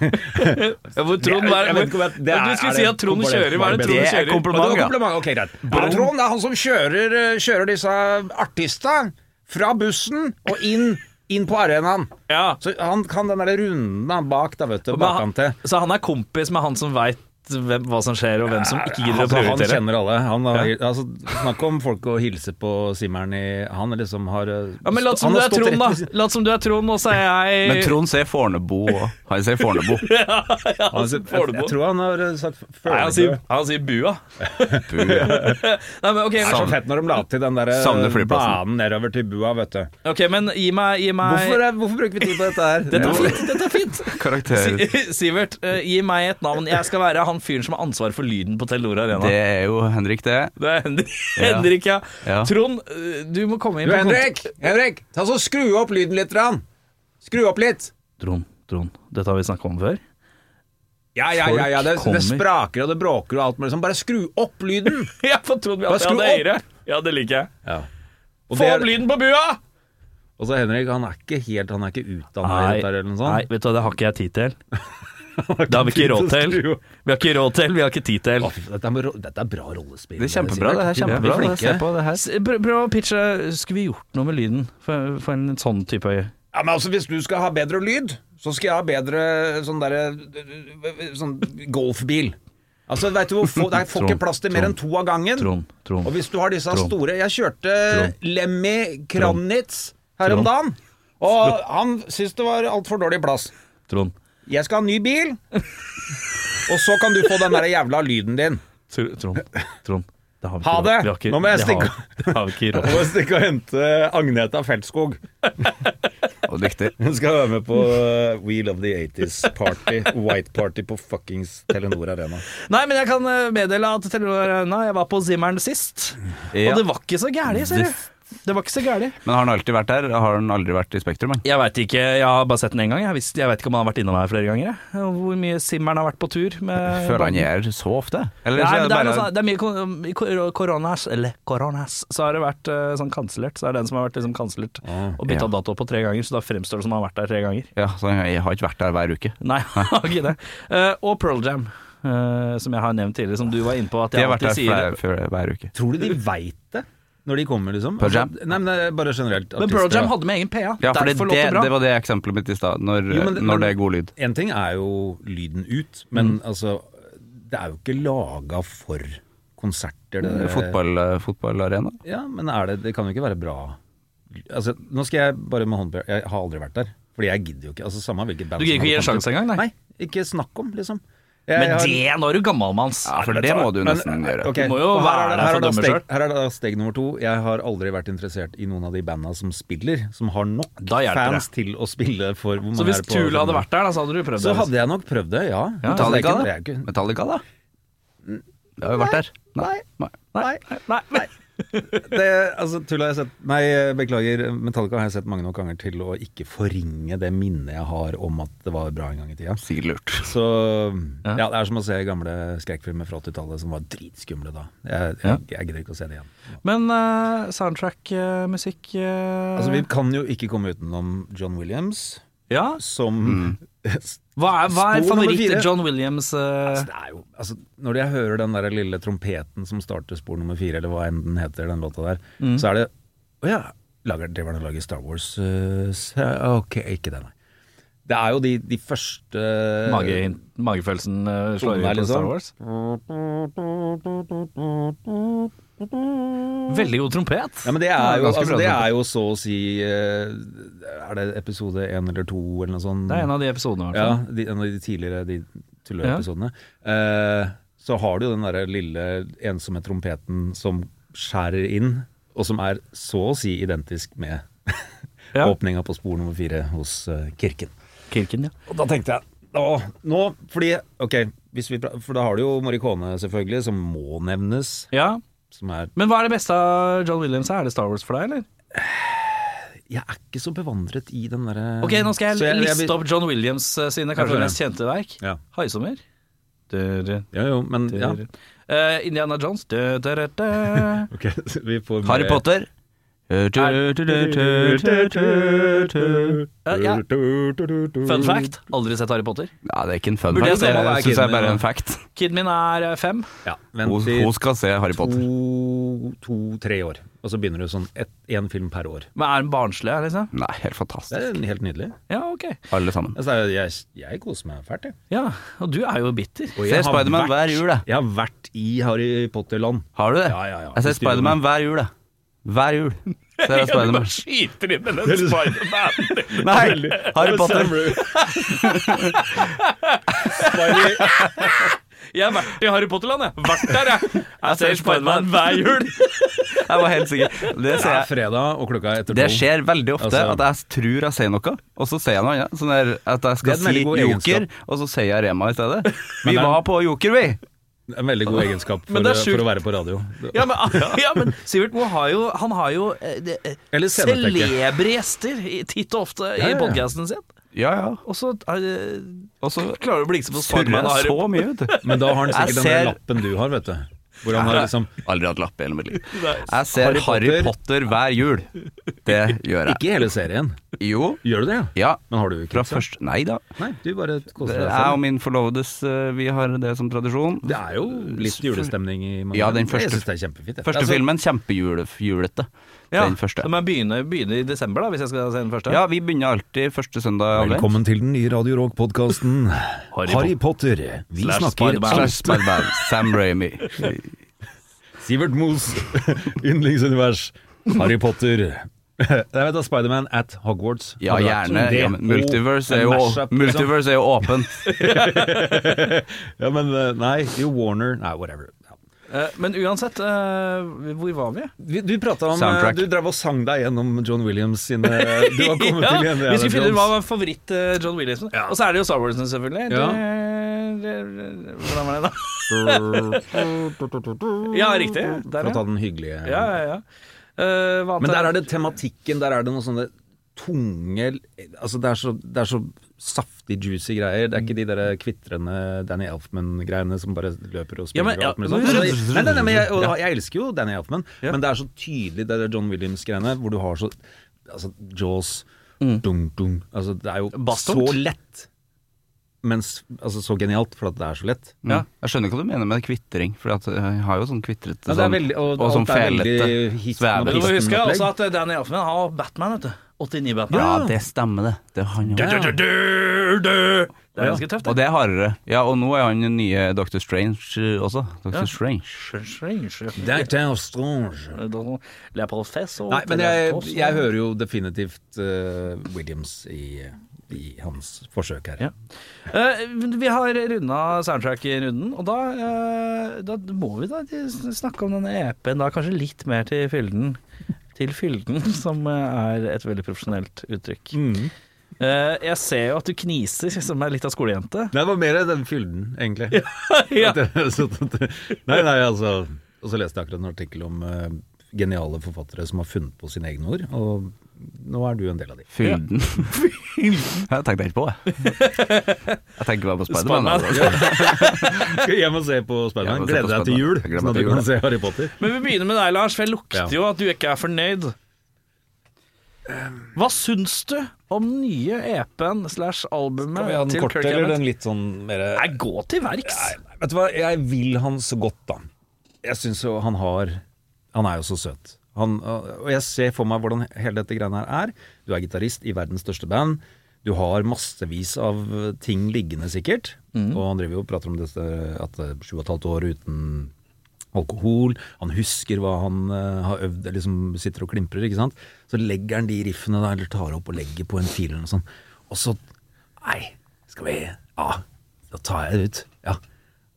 B: Ja, hvor Trond
C: <laughs> Jeg-
B: var,
C: jeg vet ikke hva- det er-
B: Du skulle
C: er
B: si
C: det
B: at Trond
C: kompliment?
B: kjører. Hva er det Trond
D: Det er
B: kjører?
D: kompliment.
C: Men det var
D: ja.
C: kompliment. Ok, greit. Er det Trond det er han som kjører, eh, kjører disse artistene fra bussen og inn, inn på arenaen.
B: Ja.
C: Så han kan den der runden han bak, da, vet du.
B: Men han-
C: Bakkant til.
B: Så han er kompis med han som veit vet hvem, hva som skjer, og hvem som ikke gidder å
C: Altså, han
B: prioritere.
C: kjenner alle. Han har, altså, snakk om folk å hilse på Simmeren i Han liksom har eh,
B: Ja, men Lat som
C: han
B: du
C: har
B: er
C: stått
B: Trond, da.
C: rett ved siden-
B: Lat som du er Trond, og så er jeg
D: Men Trond sier Fornebu òg. Han sier
B: <laughs>
D: Fornebu.
C: Han, jeg, jeg, jeg tror han har eh, sagt Følebø.
B: Nei, han sier,
C: Det
B: han sier bua. Nei, men ok,
C: er så
D: Savner-
C: fett når de la til den der eh,
D: Savner flyplassen.
C: banen nedover til bua, vet du.
B: ok, men gi meg, gi meg
C: Hvorfor, er, hvorfor bruker vi tid på dette her?
B: Dette er fint, dette er fint.
D: Karakter
B: Si- <laughs> Sivert, eh, gi meg et navn. Jeg skal være han fyren som har ansvar for lyden på Telenor Arena.
D: Det
B: Det,
D: er jo Henrik, det.
B: er Henrik,
D: Ja.
B: Henrik ja.
D: Ja.
B: Trond, eh, du må komme inn
C: Du,
B: på kont-
C: Henrik! Henrik, ta så Skru opp lyden litt. Rann. Skru opp litt.
B: Trond, Trond, dette har vi snakket om før.
C: Ja, ja, ja, ja. Det,
B: Folk
C: det
B: kommer.
C: spraker og det bråker og alt mulig sånn. Bare skru opp lyden!
B: <laughs> Ja, for Trond vil
C: Bare
B: alltid ha
C: skru
B: det
C: opp.
B: høyere. Ja, det liker jeg.
C: Ja. Og,
B: Få
C: det
B: opp
C: er,
B: lyden på bua!
C: og så Henrik, han er ikke helt Han er ikke utdanna i dette her eller noe
B: nei,
C: sånt.
B: vet du hva, det har ikke jeg tid til. Det har vi ikke råd til.
C: Skru opp.
B: Vi har ikke råd til, vi har ikke tid til.
C: Å, fy, Dette er, med ro- dette er bra rollespill.
D: Det er kjempebra, det her.
C: Sivert.
D: Kjempebra. altså,
C: Vi er
D: Se
C: flinke.
D: på det her.
B: S- pr- Prøv å pitche, skulle vi gjort noe med lyden for, for en sånn type øye?
C: Ja, men altså, hvis du skal ha bedre lyd, så skal jeg ha bedre sånn derre Sånn golfbil. Altså, veit du hvor få Det er får
B: Trond,
C: ikke plass til mer enn to av gangen.
B: Trond, Trond.
C: Og hvis du har disse
B: Trond.
C: store Jeg kjørte
B: Trond.
C: Lemmy Kranitz her om
B: Trond.
C: dagen, og han syntes det var altfor dårlig plass.
B: Trond.
C: Jeg skal ha en ny bil, og så kan du få den der jævla lyden din.
B: Tr- Trond. Trond. Det har vi
C: Ha
B: ikke råd-
C: det!
B: vi har ikke-
C: Nå må jeg
B: det har-
C: stikke.
B: <laughs> Det har vi ikke råd
C: må stikke og hente Agneta Feltskog.
D: Og dyktig.
C: Hun skal være med på uh, We Love the 80s Party, White Party på fuckings Telenor Arena.
B: Nei, men jeg kan eh, meddele at Telenor Arena, jeg var på Zimmeren sist,
D: Ja.
B: og det var ikke så gærlig, ser du. Det var ikke så gærlig.
D: Men har han alltid vært der? Har han aldri vært i Spektrum? han?
B: Jeg veit ikke, jeg har bare sett den én gang. Jeg, visste, jeg vet ikke om han har vært innom her flere ganger. jeg. Og Hvor mye Zimmeren har vært på tur med
D: Føler han er så ofte? Eller
B: Nei,
D: så
B: men
D: er
B: det,
D: det
B: er noe
D: bare
B: sånn, det er mye kon- i kor- koronas, eller koronas, så har det vært eh, sånn kansellert. Så er det den som har vært liksom kansellert og bytta
D: Ah, ja.
B: dato på tre ganger, så da fremstår det som han har vært der tre ganger.
D: Ja, så han har ikke vært der hver uke.
B: Nei, <laughs> jeg har ikke det. Eh, og Pearl Jam, eh, som jeg har nevnt tidligere, som du var inne på at
D: De
B: jeg
D: har vært
B: alltid
D: der
B: sier.
D: hver, hver, hver uke.
C: Tror du de veit det? Når de kommer, liksom?
D: Pearl Jam?
C: Altså, nei, men det er bare generelt.
B: Men Pearl
C: artister,
B: Jam
C: da.
B: hadde med egen PA,
D: Ja, for det,
B: derfor
D: det,
B: låt det bra.
D: det var det eksempelet mitt i stad, når,
C: Jo, men- men-
D: når det er god lyd.
C: En ting er jo lyden ut, men altså Det er jo ikke laga for konserter.
D: Mm,
C: Det, der-
D: Fotball, eh, fotballarena?
C: Ja, men er det Det kan jo ikke være bra Altså, nå skal jeg bare med hånd på Jeg har aldri vært der. Fordi jeg gidder jo ikke. Altså, samme hvilket band
B: Du gidder
C: som
B: ikke gi en
C: hadde kommet
B: sjanse engang,
C: ut.
B: nei?
C: Nei, ikke snakk om, liksom. Jeg,
B: Men
C: har-
B: det, nå er du gammalmanns.
D: Ja, for det må du
C: Men- eh,
D: nesten gjøre.
C: ok,
B: Du må jo
C: og her er
B: være
C: det-
B: der for
C: her er det
B: å dømme
C: steg-
B: selv.
C: Her er det steg nummer to. Jeg har aldri vært interessert i noen av de banda som spiller, som har nok
B: Da hjelper
C: fans til å spille for hvor mange
B: Så hvis
C: er det på-
B: Tule hadde vært der, da, så hadde du prøvd
C: Så
B: det. liksom.
C: hadde jeg nok prøvd det,
B: Ja,
C: ja. Altså, det er
D: Metallica,
C: ikke-
D: da?
C: det er ikke-
D: Metallica, da? Det har jo vært der. Nei. Nei.
B: Nei, nei, nei.
C: <laughs> Det, altså, Tull har jeg sett Nei, beklager. Metallica har jeg sett mange nok ganger til å ikke forringe det minnet jeg har om at det var bra en gang i tida.
D: Sikkert lurt.
C: Så ja. det er som å se gamle skrekkfilmer fra 80-tallet som var dritskumle da. Jeg, jeg, jeg gidder ikke å se det igjen.
B: Men eh, soundtrack-musikk
C: Altså, vi kan jo ikke komme utenom John Williams,
B: Ja,
C: som altså,
B: hva er, hva er
C: Spor nummer
B: favoritt
C: fire.
B: John Williams? eh?
C: <laughs> det er jo, altså, Når jeg hører den der lille trompeten som starter spor nummer fire, eller hva enn den heter, den låta der, så er det Å ja, lager, driver han og lager Star Wars eh, se- Ok, ikke det, nei. Det er jo de, de første
B: Mage, magefølelsen eh, slår ut
C: Tonen
B: på Star
C: her, eh, liksom.
B: Wars. Veldig god trompet.
C: Ja, men det er, jo,
D: ganske
C: altså,
D: bra
C: det
D: trompet.
C: er jo så å si eh, Er det episode én eller to eller noe sånt?
B: Det er en av de episodene. i hvert
C: ja,
B: fall.
C: de, en av de tidligere de tulleepisodene. Eh, så har du jo den derre lille ensomme trompeten som skjærer inn, og som er så å si identisk med <laughs>
B: Ja.
C: åpninga på spor nummer fire hos eh, Kirken.
B: Kirken, ja.
C: Og da tenkte jeg å, nå, fordi, ok, hvis vi, pra- For da har du jo Morricone, selvfølgelig, som må nevnes.
B: ja.
C: Som er
B: Men hva er det beste av John Williams? her? Er det Star Wars for deg, eller?
C: Jeg er ikke så bevandret i den derre
B: Ok, nå skal jeg,
C: Så
B: liste opp John Williams eh, sine
C: får
B: kanskje
C: det.
B: mest kjente verk.
C: Ja.
B: 'Haisommer'. Du, du,
C: Ja, jo, men
B: du,
C: ja.
B: du. Eh, Indiana Jones. Du, du, du, du. <laughs>
C: Ok, <laughs> så vi får
D: Harry
C: mer-
D: Potter. Ja,
B: Ja, ja. Fun fact, aldri sett Harry Potter.
D: det er ikke en fun
B: Burde jeg
D: fact,
B: se om han er
D: det syns jeg
C: kiden,
D: er bare
C: ja.
D: en fact.
B: Kiden min er eh, fem.
C: Ja,
D: Hun,
C: vent i
D: hun skal se Harry Potter.
C: to, to, tre år. Og så begynner du sånn én film per år.
B: Men er den barnslig, er det liksom?
D: Nei, helt
C: Det
D: fantastisk.
C: er helt nydelig.
B: Ja, ok.
D: Alle sammen.
C: Altså, jeg, jeg, jeg koser meg fælt, jeg.
B: Ja, og du er jo bitter.
C: Og
D: Ser
C: jeg har
D: Spiderman
C: vært-
D: hver jul, jeg.
C: Jeg har vært i Harry Potter-land.
D: Har du det?
C: Ja, ja, ja.
D: Jeg
C: Styrer
D: ser
C: den.
D: Spiderman hver jul, jeg. Hver jul. Ser
B: <laughs>
D: jeg Spiderman.
B: skyter inn med den Spiderman. <laughs>
C: <laughs>
D: Nei, Harry Potter. <laughs>
B: Jeg har vært i Harry Potter-land, jeg. Vært der, <laughs> jeg. Jeg ser
D: ser
B: Spiderman
D: Spiderman.
B: hver jul. <laughs>
D: Jeg var helt sikker. Det
C: Det
D: ser
C: er
D: jeg.
C: fredag, og klokka er etter
D: Det
C: tolv.
D: skjer veldig ofte
C: Altså-
D: at jeg tror jeg sier noe, og så sier jeg noe annet. Sånn der at jeg
C: Det er
D: skal
C: en
D: si
C: veldig god
D: Joker,
C: egenskap.
D: og så sier jeg Rema i stedet. Vi
C: Men det er-
D: var på Joker, vi!
C: En veldig god egenskap for,
B: Men det er sjukt.
C: for å være på radio.
B: Ja, men, <laughs> ja, men Sivert Moe har jo Han har jo eh, det- eh,
C: Eller scenetekke.
B: celebre gjester i- titt og ofte
C: Ja,
B: i
C: ja, ja.
B: podkasten sin.
D: Ja, ja.
B: Og så eh,
D: Og så
B: klarer du å blikse på
D: surrer
B: Spiderman og
D: jeg
B: Harry
D: så mye, vet du.
C: Men da har han
D: Jeg
C: sikkert den der
D: ser-
C: lappen du har, vet du. Hvor han har liksom
D: Aldri hatt lapp i hele mitt liv.
B: Nei.
D: Jeg ser
C: Harry
D: Harry Potter,
C: Potter.
D: hver jul. Det gjør jeg.
C: Ikke hele serien.
D: Jo.
C: Gjør du det, ja?
D: Ja.
C: Men har du
D: Fra
C: kretsa?
D: først Nei da.
C: Nei, du bare koser deg.
D: Jeg og
C: selv.
D: min forlovedes, eh, vi har det som tradisjon.
C: Det er jo litt julestemning i mange
D: Ja, den
C: filmer. Jeg
D: første-
C: syns det er kjempefint. jeg.
D: Første
C: Altså,
D: filmen, kjempejulete.
B: Ja,
D: Den første.
B: Så må jeg begynne, begynne i desember, da, hvis jeg skal se den første?
D: Ja, vi begynner alltid første søndag i advent.
C: Velkommen til den nye Radio
D: <laughs>
C: Rock-podkasten Harry, Potter. Vi
B: Slash
C: snakker
B: Spider-Man.
C: om
D: Slash Spider-Man, Sam Raimi.
C: Sivert Moos <laughs> yndlingsunivers. Harry Potter. <laughs> Jeg vet da, Spiderman at Hogwarts.
D: Ja,
C: Hadde vært
D: gjerne.
C: det,
D: Ja, men multiverse,
C: og en
D: er jo,
C: mashup, liksom.
D: multiverse er jo åpent.
C: <laughs> Ja, men eh, nei, jo Warner Nei, whatever. Ja.
B: Eh, Men uansett, eh, hvor var vi?
C: Vi- Du prata om eh,
D: Soundtrack.
C: Du drev og sang deg gjennom John Williams sine eh, Du har
D: <laughs>
C: kommet til igjen
B: vi skulle finne ut hva var favoritt eh, John Williams Og så er det jo Star Warsen, selvfølgelig.
C: Ja.
B: Det, det, det, hvordan var det,
C: <laughs>
B: da? Ja, riktig. Der,
C: For å ta
B: ja.
C: den hyggelige
B: ja, ja, ja. Eh, hva
C: Men
B: annet
C: der er det tematikken, der er det noe sånne tunge Altså det er så, det er så saftig, juicy greier. Det er ikke de der kvitrende Danny Elfman-greiene som bare løper og
B: Ja,
C: spiller
B: men-
C: og alt mulig
B: ja,
C: sånt.
B: men-
C: Så det- Nei, nei, nei, men jeg, og,
B: Ja.
C: jeg elsker jo Danny Elfman,
B: Ja.
C: men det er så tydelig det der John Williams-greiene hvor du har så Altså Jaws
B: Mm.
C: dung, dung. Altså det er jo
B: Bastongt.
C: så lett. Mens, altså så genialt, for at det er så lett.
D: Ja. Jeg skjønner ikke hva du mener med kvittering, for at jeg har jo sånn kvitrete
C: Ja, det er veldig- og-
D: sånn, og sånn
C: alt er veldig
D: felete
C: histen-
B: Men du må
D: svevende.
C: histen-
B: huske
C: Kristen-opplegg.
B: også at Danny Elfman har Batman, vet du. 89 Batman.
D: Ja, det stemmer det. Det er han.
C: Ja.
B: Det er ganske tøft.
D: Og
B: Det.
D: det er hardere. Ja, og nå er han den nye Dr. Strange eh, også. Dr.
B: Ja.
D: Strange.
B: Strange.
C: Doctor Strange.
B: Leopold Fess og
C: Nei, men jeg, jeg hører jo definitivt eh, Williams i, i hans forsøk her.
B: Ja. Eh, vi har runda soundtrack-runden, og da, eh, da må vi da snakke om denne EP-en da, kanskje litt mer til fylden. Til fylden, <laughs> som eh, er et veldig profesjonelt uttrykk.
C: Mhm.
B: Eh, jeg ser jo at du kniser, <laughs> som er litt av skolejente.
C: Det var mer den fylden,
D: <laughs>
C: egentlig.
B: ja.
C: Så at det- nei, nei, altså Og så leste jeg akkurat en artikkel om eh, geniale forfattere som har funnet på sine egne ord, og nå er du en del av de.
B: <laughs>
D: Fylden. jeg tenkte ikke på det. Jeg tenker bare på Spiderman.
B: Spiderman.
D: altså.
C: Skal hjem og se på Spiderman.
D: Ja, og se på
C: Gleder deg til
D: Spiderman.
C: jul,
D: Jeg gleder
C: sånn
D: meg
C: at
D: til
C: du kan
D: jul,
C: se Harry Potter.
B: Men vi begynner med deg, Lars, for jeg lukter
C: Ja.
B: jo at du ikke er fornøyd.
C: Ehm.
B: Hva syns du om den nye EP-en slash albumet til Kirk Hammett?
C: litt sånn mer
B: Nei, gå til verks!
C: Nei, vet du hva, jeg vil han så godt, da. Jeg syns jo han har Han er jo så søt. Han, og jeg ser for meg hvordan hele dette greiene her er. Du er gitarist i verdens største band. Du har massevis av ting liggende, sikkert. Og han driver jo og prater om dette, at det er sju og et halvt år uten alkohol. Han husker hva han eh, har øvd, eller liksom sitter og klimprer, ikke sant. Så legger han de riffene da, eller tar opp og legger på en fil eller noe sånt. Og så Nei, skal vi Ja, da tar jeg det ut. Ja.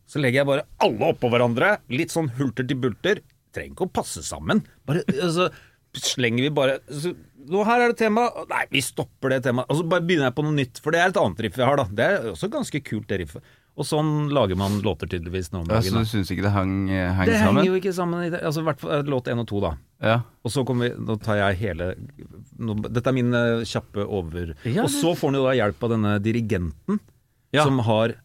C: Så legger jeg bare alle oppå hverandre, litt sånn hulter til bulter. Trenger ikke å passe sammen. Bare, altså, slenger vi bare så, nå Her er det tema. Nei, vi stopper det temaet. Og så bare begynner jeg på noe nytt, for det er et annet riff jeg har, da. Det er også ganske kult, det riffet. Og sånn lager man låter tydeligvis nå om
D: Ja, så
C: dagen.
D: du
C: da.
D: syns ikke det hang, henger
C: Det henger
D: sammen?
C: jo ikke sammen i det. Altså, i hvert fall eh, låt én og to, da.
D: Ja.
C: Og så kommer vi, nå tar jeg hele nå, Dette er min eh, kjappe over
B: Ja,
C: Og
B: det-
C: så får han jo da hjelp av denne dirigenten
B: Ja.
C: Som har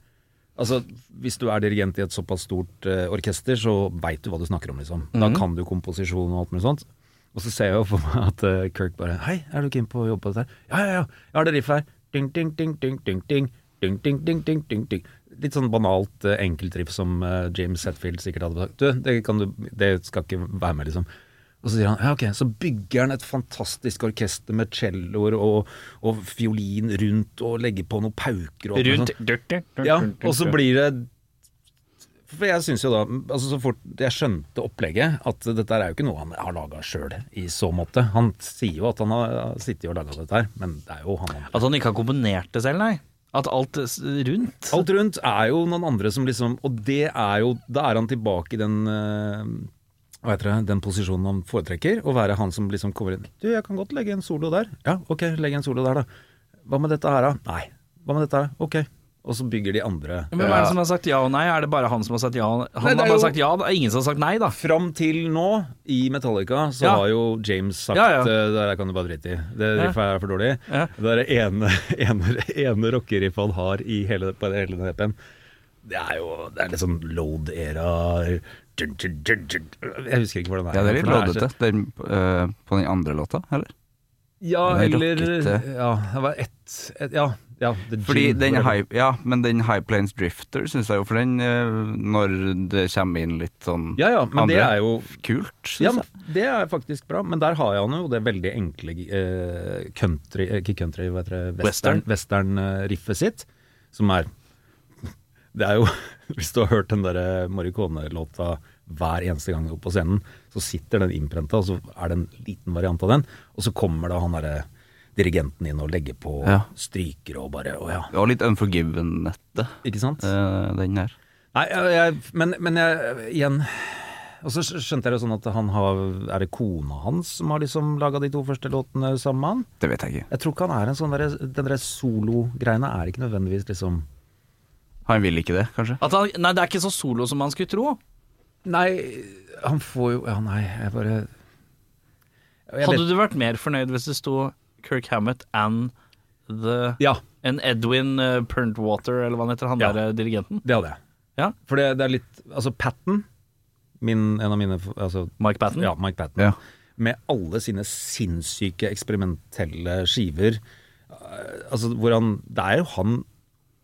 C: Altså, hvis du er dirigent i et såpass stort eh, orkester Så vet du hva du snakker om liksom Da kan du komposisjon og alt mulig sånt Og så ser jeg jo for meg at eh, Kirk bare Hei, er du keen på å jobbe på dette? her? Ja, ja, ja, jeg har det riffet her. Ding, ding, ding, ding, ding, ding. Ding, ding, ding, ding, ding, ding. Litt sånn banalt eh, enkeltriff som eh, James Hetfield sikkert hadde sagt. Du, det, kan du, det skal ikke være med, liksom. Og så sier han ja, ok, så bygger han et fantastisk orkester med celloer og, og fiolin rundt, og legger på noen pauker og alt mulig sånt. Ja, og så blir det For jeg syns jo da altså Så fort jeg skjønte opplegget, at dette er jo ikke noe han har laga sjøl i så måte. Han sier jo at han har sittet og laga dette her, men det er jo han han
B: At Altså, han ikke har komponert det selv, nei. At alt s- rundt
C: Alt rundt er jo noen andre som liksom Og det er jo Da er han tilbake i den eh, hva heter det, den posisjonen han foretrekker, å være han som liksom kommer inn Du, jeg kan godt legge en solo der. Ja, ok, legg en solo der, da. Hva med dette her, da? Nei. Hva med dette her? Ok. Og så bygger de andre
B: Men hvem er det som har sagt ja og nei? Er det bare han som har sagt ja? Han
C: Nei, det er
B: har bare
C: jo-
B: sagt ja, det er ingen som har sagt nei, da.
C: Fram til nå, i Metallica, så
B: Ja.
C: har jo James sagt
B: Ja, ja.
C: eh, Det der kan du bare drite i. Det
B: Ja.
C: riffet er for dårlig.
B: Ja.
C: Det er det ene, <laughs> ene, ene rockeriffet han har i hele, på hele den EP-en. Det er jo det er litt sånn load-era Jeg husker ikke hvordan det er.
D: Ja, det er litt
C: for så-
D: loddete. Den, eh, på den andre låta, eller?
C: Ja,
D: Det er
C: eller
D: rockete.
C: Ja, det var ett et, Ja. ja The
D: Fordi
C: Jig,
D: den
C: whatever.
D: high, ja, men den High Planes Drifter syns jeg jo, for den eh, Når det kommer inn litt sånn
C: Ja ja, men det
D: Andre.
C: er jo
D: kult, syns
C: Ja,
D: jeg.
C: men det er faktisk bra, men der har jeg jo det veldig enkle eh, country, eh, ikke country, hva heter det,
B: Western.
C: western-riffet sitt, som er <laughs> Det er jo <laughs> Hvis du har hørt den derre Morricone-låta hver eneste gang opp på scenen, så sitter den innprenta, og så er det en liten variant av den, og så kommer da han derre dirigenten inn og legger på
D: Ja.
C: stryker og bare Å ja.
D: Og litt Unforgiven-nettet,
C: Ikke sant?
D: eh, den her.
C: Nei, jeg, jeg, men, men jeg, igjen Og så skjønte jeg det sånn at han har Er det kona hans som har liksom laga de to første låtene sammen med han?
D: Det vet jeg ikke.
C: Jeg tror ikke han er en sånn derre Den derre solo-greiene er ikke nødvendigvis liksom
D: Han vil ikke det, kanskje?
B: At han, nei, det er ikke så solo som man skulle tro.
C: Nei, han får jo Ja, nei, jeg bare jeg
B: Hadde du vært mer fornøyd hvis det sto Kirk Hammett and the
C: Ja,
B: And Edwin eh, Perntwater, eller hva han heter, han
C: Ja.
B: der eh, dirigenten?
C: det hadde jeg.
B: Ja.
C: For det, det er litt Altså, Patten, min, en av mine altså,
B: Mike Patton?
C: Ja, Mike Patton.
D: Ja.
C: Med alle sine sinnssyke eksperimentelle skiver. eh, Altså, hvor han, det er jo han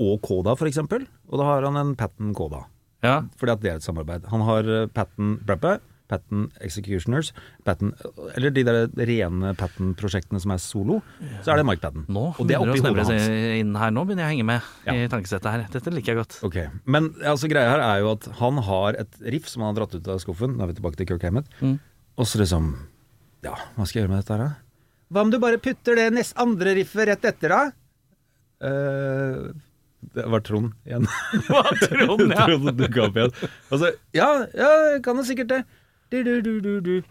C: og Koda, for eksempel. Og da har han en Patton Koda.
B: Ja.
C: Fordi at det er et samarbeid. Han har eh, Patton Brabbe, Patton Executioners, Patton Eller de der rene Patton-prosjektene som er solo. Så er det Mike Patton.
B: Nå
C: og det er
B: begynner
C: oppi
B: det å snevre
C: hodet hans.
B: seg inn her, nå begynner jeg å henge med
C: Ja.
B: i tankesettet her. Dette liker jeg godt.
C: Ok, Men altså, greia her er jo at han har et riff som han har dratt ut av skuffen. Nå er vi tilbake til Kirk Hammett. Og så liksom Ja, hva skal jeg gjøre med dette her, da? Hva om du bare putter det nest andre riffet rett etter, da? eh det var Trond igjen.
B: Hva tror han, ja?
C: <laughs> Trond dukka opp igjen. Altså, ja, ja, jeg kan jo sikkert det. Du, du, du, du, du.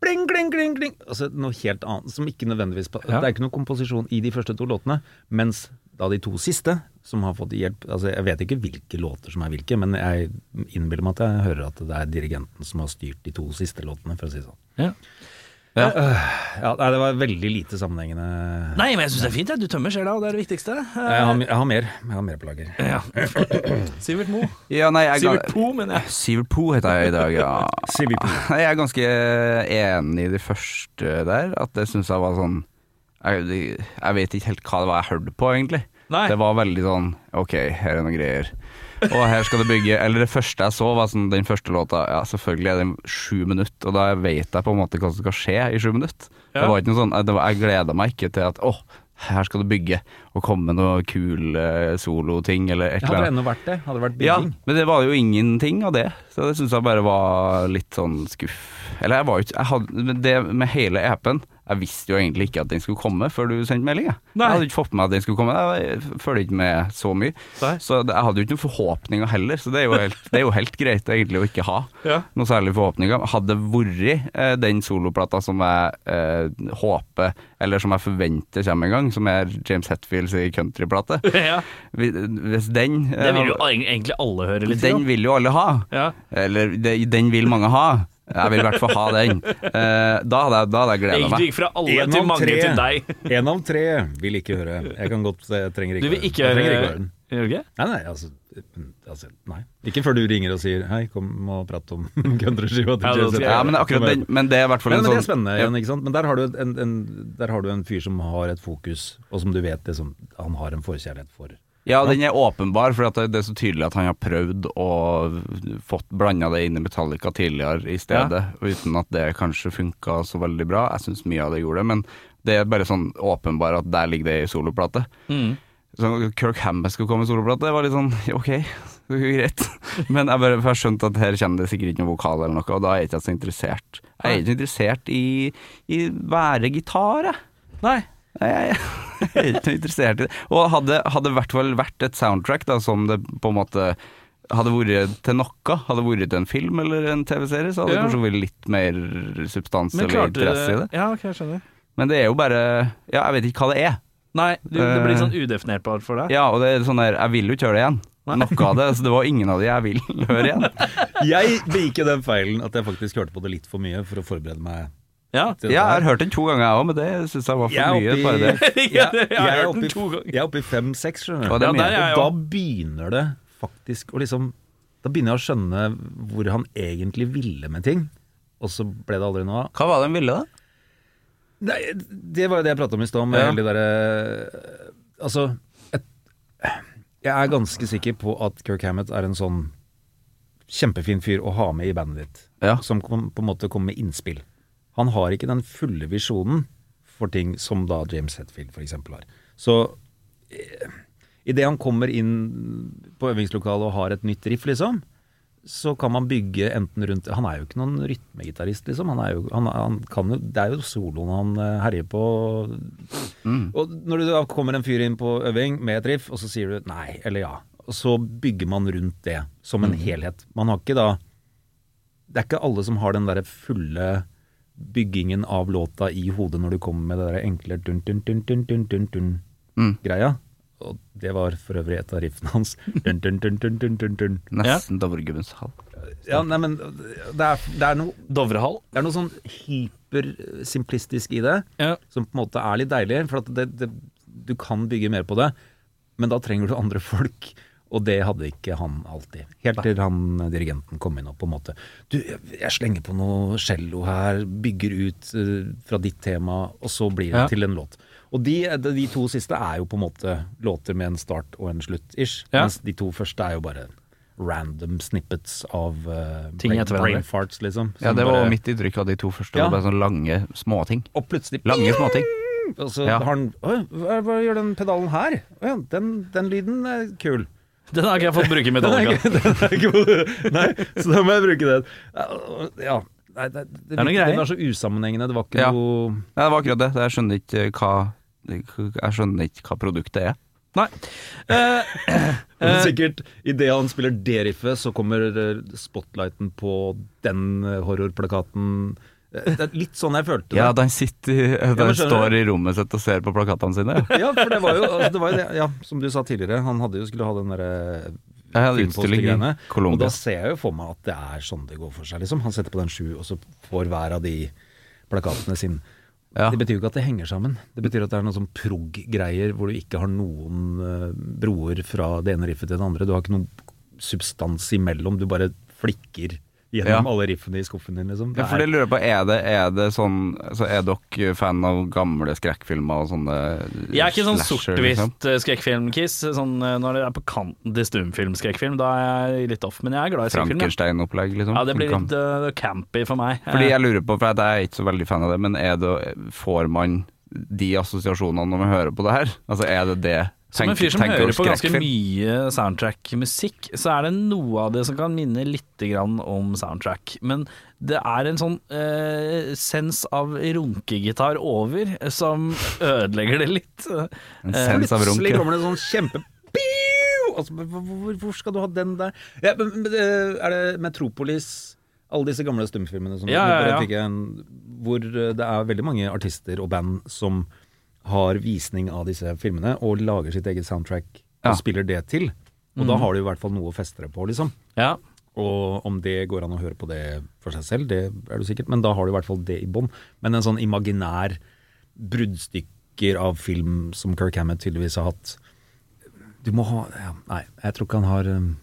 C: Bling, bling, bling, bling. Altså noe helt annet som ikke nødvendigvis
B: Ja.
C: Det er ikke noe komposisjon i de første to låtene, mens da de to siste, som har fått hjelp Altså jeg vet ikke hvilke låter som er hvilke, men jeg innbiller meg at jeg hører at det er dirigenten som har styrt de to siste låtene, for å si det sånn.
B: Ja.
C: Ja, nei, det var veldig lite sammenhengende.
B: Nei, men jeg syns det er fint, jeg. Du tømmer sjela, og det er det viktigste. Eh,
C: Jeg har, jeg har mer. Jeg har mer på lager.
B: Ja. Sivert Mo.
D: Ja, nei, jeg
B: Sivert
D: ga-
B: Po, mener jeg. <laughs>
D: Sivert Po heter jeg i dag, ja.
C: Sivert Po.
D: Nei, <laughs> Jeg er ganske eh, enig i det første der, at det syns jeg var sånn jeg, jeg vet ikke helt hva det var jeg hørte på, egentlig.
B: Nei.
D: Det var veldig sånn OK, her er noen greier. Og her skal det bygge Eller det første jeg så, var sånn den første låta. Ja, selvfølgelig er den sju minutter, og da vet jeg på en måte hva som skal skje i sju minutter. Det
B: Ja.
D: var ikke noe sånn det var, Jeg gleda meg ikke til at åh, her skal det bygge, og komme med noe kule soloting eller et eller
C: Hadde det
D: annet.
C: ennå vært det, hadde det vært
D: Ja,
C: bygging.
D: men det var jo ingenting av det, så det syns jeg bare var litt sånn skuff. Eller jeg var jo ikke jeg hadde, men Det med hele appen Jeg visste jo egentlig ikke at den skulle komme før du sendte melding. Jeg, jeg
B: Nei.
D: hadde ikke fått med meg at den skulle komme, jeg følger ikke med så mye.
B: Nei.
D: Så det- jeg hadde jo ikke noen forhåpninger heller, så det er jo helt, det er jo helt greit egentlig å ikke ha
B: Ja.
D: noen særlige forhåpninger. Hadde vært eh, den soloplata som jeg eh, håper, eller som jeg forventer kommer en gang, som er James Hetfields countryplate
B: ja.
D: Hvis den eh,
B: Det vil jo egentlig alle høre litt.
D: Den
B: om.
D: vil jo alle ha.
B: Ja.
D: Eller det, den vil mange ha. Jeg vil i hvert fall ha den. Eh, da hadde jeg, da hadde jeg gleda
B: Egentlig
D: meg.
B: gikk fra alle
C: En
B: til
C: av
B: mange
C: tre.
B: til deg.
C: <laughs> En av tre vil ikke høre. Jeg kan godt Jeg trenger ikke
B: Du vil ikke
C: Jeg trenger
B: høre
C: ikke høre den.
B: Jørge?
C: Nei, nei, altså Altså, nei. Ikke før du ringer og sier 'hei, kom og prat om <laughs> countryskiva
B: Ja,
C: til
B: det
C: Jay-Z'.
B: skal jeg
D: Ja, men, det er akkurat den, men det er i hvert fall
C: Men,
D: en
C: men det er
D: sånn
C: spennende
D: ja.
C: igjen, ikke sant? Men der har, du en, en, der har du en fyr som har et fokus, og som du vet liksom, han har en forkjærlighet for.
D: Ja, den er åpenbar, for at det det er så tydelig at han har prøvd å fått blanda det inn i Metallica tidligere i stedet, uten at det kanskje funka så veldig bra. Jeg syns mye av det gjorde det, men det er bare sånn åpenbar at der ligger det i soloplate. Så Sånn, Kirk Hammett skulle komme i soloplate, det var litt sånn <laughs> ok, det er greit. Men jeg bare for jeg skjønte at her kommer det sikkert ikke noe vokal eller noe, og da er jeg ikke så interessert. Jeg er ikke interessert i, i være gitar, jeg.
B: Nei.
D: Nei, jeg, <laughs> jeg er ikke noe interessert i det. Og hadde hadde i hvert fall vært et soundtrack da, som det på en måte hadde vært til noe, hadde vært til en film eller en TV-serie, så hadde det
B: Ja.
D: kanskje vært litt mer substans
B: Men
D: eller
B: klarte du
D: interesse i det.
B: Ja, ok, jeg skjønner.
D: Men det er jo bare Ja, jeg vet ikke hva det er.
B: Nei, du, det blir
D: Eh.
B: sånn udefinerbart for deg.
D: Ja, og det er sånn der Jeg vil jo ikke høre det igjen. Noe av det. Så det var ingen av de jeg vil <laughs> høre igjen.
C: Jeg begikk jo den feilen at jeg faktisk hørte på det litt for mye for å forberede meg
B: Ja.
C: til
D: Ja, jeg
C: dette.
D: har hørt den to ganger, jeg òg, men det syns jeg var for
C: Jeg
D: mye.
C: er
D: Bare det. <laughs>
C: oppe <laughs> i, jeg, jeg,
B: Jeg har
C: er
B: hørt
C: oppe
B: den
C: i,
B: to ganger.
C: jeg er oppe i fem-seks, skjønner du.
D: Og det
B: Ja,
D: er
B: der er jeg
C: og da
B: også.
C: begynner det faktisk å liksom Da begynner jeg å skjønne hvor han egentlig ville med ting, og så ble det aldri noe av.
D: Hva var det de ville, da?
C: Nei, det var jo det jeg prata om i stad, med
D: Ja.
C: hele det derre Altså et, Jeg er ganske sikker på at Kirk Hammett er en sånn kjempefin fyr å ha med i bandet ditt.
D: Ja.
C: Som kom, på en måte kommer med innspill. Han har ikke den fulle visjonen for ting som da James Hetfield for eksempel har. Så eh, idet han kommer inn på øvingslokalet og har et nytt riff, liksom, så kan man bygge enten rundt Han er jo ikke noen rytmegitarist, liksom. Han er jo, han, han kan jo, det er jo soloen han eh, herjer på. Og når du da kommer en fyr inn på øving med et riff, og så sier du nei eller ja. Og så bygger man rundt det som en helhet. Man har ikke da Det er ikke alle som har den derre fulle byggingen av låta i hodet når du kommer med det derre enkle
D: Mm.
C: dun-dun-dun-dun-dun-dun-greia. Og det var for øvrig et av riffene hans. Dun, dun, dun, dun, dun, dun, dun, dun.
D: Nesten Dovregubbens hall.
C: Ja, nei, men det er, det er noe
B: Dovrehall.
C: det er noe sånn hypersimplistisk i det,
B: Ja.
C: som på en måte er litt deilig. For at det, det, du kan bygge mer på det, men da trenger du andre <laughs> folk. Og det hadde ikke han alltid. Helt til han eh, dirigenten kom inn og på en måte Du, jeg jeg slenger på noe cello her, bygger ut eh, fra ditt tema, og så blir det
B: Ja.
C: til en låt. Og de, de de to siste er jo på en måte låter med en start og en slutt, ish.
B: Ja.
C: Mens de to første er jo bare random snippets av eh,
B: Ting
C: brain,
B: etter hverandre.
C: brain farts, liksom.
D: Ja,
C: Som
D: det var
C: bare-
D: mitt inntrykk av de to første.
C: Ja.
D: Det var bare sånne lange småting.
C: og plutselig
D: Lange småting.
C: Og så
D: Ja.
C: har han Oi, hva, hva gjør den pedalen her? Å ja, den, den lyden er kul.
B: Den har ikke jeg fått bruke i
C: <laughs> Den er,
B: Metallica.
C: ikke- den er ikke på Nei, så da må jeg bruke den. Ja. Nei, det, det,
B: er noen
C: virket-
B: greier.
C: det var så usammenhengende. Det var ikke
D: Ja.
C: noe
D: Ja, det var akkurat det. Jeg skjønner ikke eh, hva jeg skjønner ikke hva produktet er.
B: Nei. Eh,
C: Men
B: Eh.
C: Sikkert idet han spiller det riffet, så kommer eh, spotlighten på den eh, horrorplakaten. Eh, Det er litt sånn jeg følte det.
D: Ja, den sitter Den
C: men skjønner
D: står i rommet sitt og ser på plakatene sine. <laughs> ja.
C: Ja, for det var jo, altså, det var jo det, ja, som du sa tidligere, han hadde jo skulle ha den eh, derre
D: Jeg hadde utstilling i
C: filmpostergreiene. Og
D: Colombia.
C: da ser jeg jo for meg at det er sånn det går for seg, liksom. Han setter på den sju, og så får hver av de plakatene sin.
D: Ja.
C: Det betyr jo ikke at det henger sammen. Det betyr at det er noen sånn prog-greier hvor du ikke har noen eh, broer fra det ene riffet til det andre. Du har ikke noen substans imellom. Du bare flikker gjennom
D: Ja.
C: alle riffene i skuffen din, liksom.
D: Ja, for det
C: er-
D: lurer jeg på, er det, er det sånn altså, Er dere fan av gamle skrekkfilmer og sånne
B: jeg er ikke sånn
D: slasher, liksom?
B: sort-hvitt eh, skrekkfilm-kiss. Sånn, eh, når det er på kanten til stumfilm-skrekkfilm, da er jeg litt off. Men jeg er glad i skrekkfilm. ja.
D: Frankenstein-opplegg, liksom?
B: Ja, det blir
D: Som
B: litt
D: kan-
B: eh, campy for meg. Eh,
D: Fordi jeg lurer på, for jeg er ikke så veldig fan av det, men er det, får man de assosiasjonene når man hører på det her? Altså, er det det
B: Som en
D: Tenk-
B: fyr som
D: tenker
B: hører
D: dere
B: på ganske
D: skrekkfilm?
B: mye soundtrack-musikk, så er det noe av det som kan minne litt grann om soundtrack. Men det er en sånn eh, sens av runkegitar over som ødelegger det litt. Eh,
D: En sens av
C: Plutselig
D: runke.
C: kommer det en sånn kjempe Piu! altså, hvor, hvor- hvor skal du ha den der? Ja, men, men, det- er det Metropolis alle disse gamle stumfilmene som
B: Ja, ja,
C: nå bare
B: ja.
C: fikk jeg en, hvor eh, det er veldig mange artister og band som har visning av disse filmene og lager sitt eget soundtrack og
D: Ja.
C: spiller det til. Og
B: Mm.
C: da har du i hvert fall noe å feste det på, liksom.
B: Eh, ja.
C: Og om det går an å høre på det for seg selv, det er du sikkert, men da har du i hvert fall det i bånn. Men en sånn imaginær bruddstykker av film som Kirk Hammett tydeligvis har hatt Du må ha ja, Nei, jeg tror ikke han har um,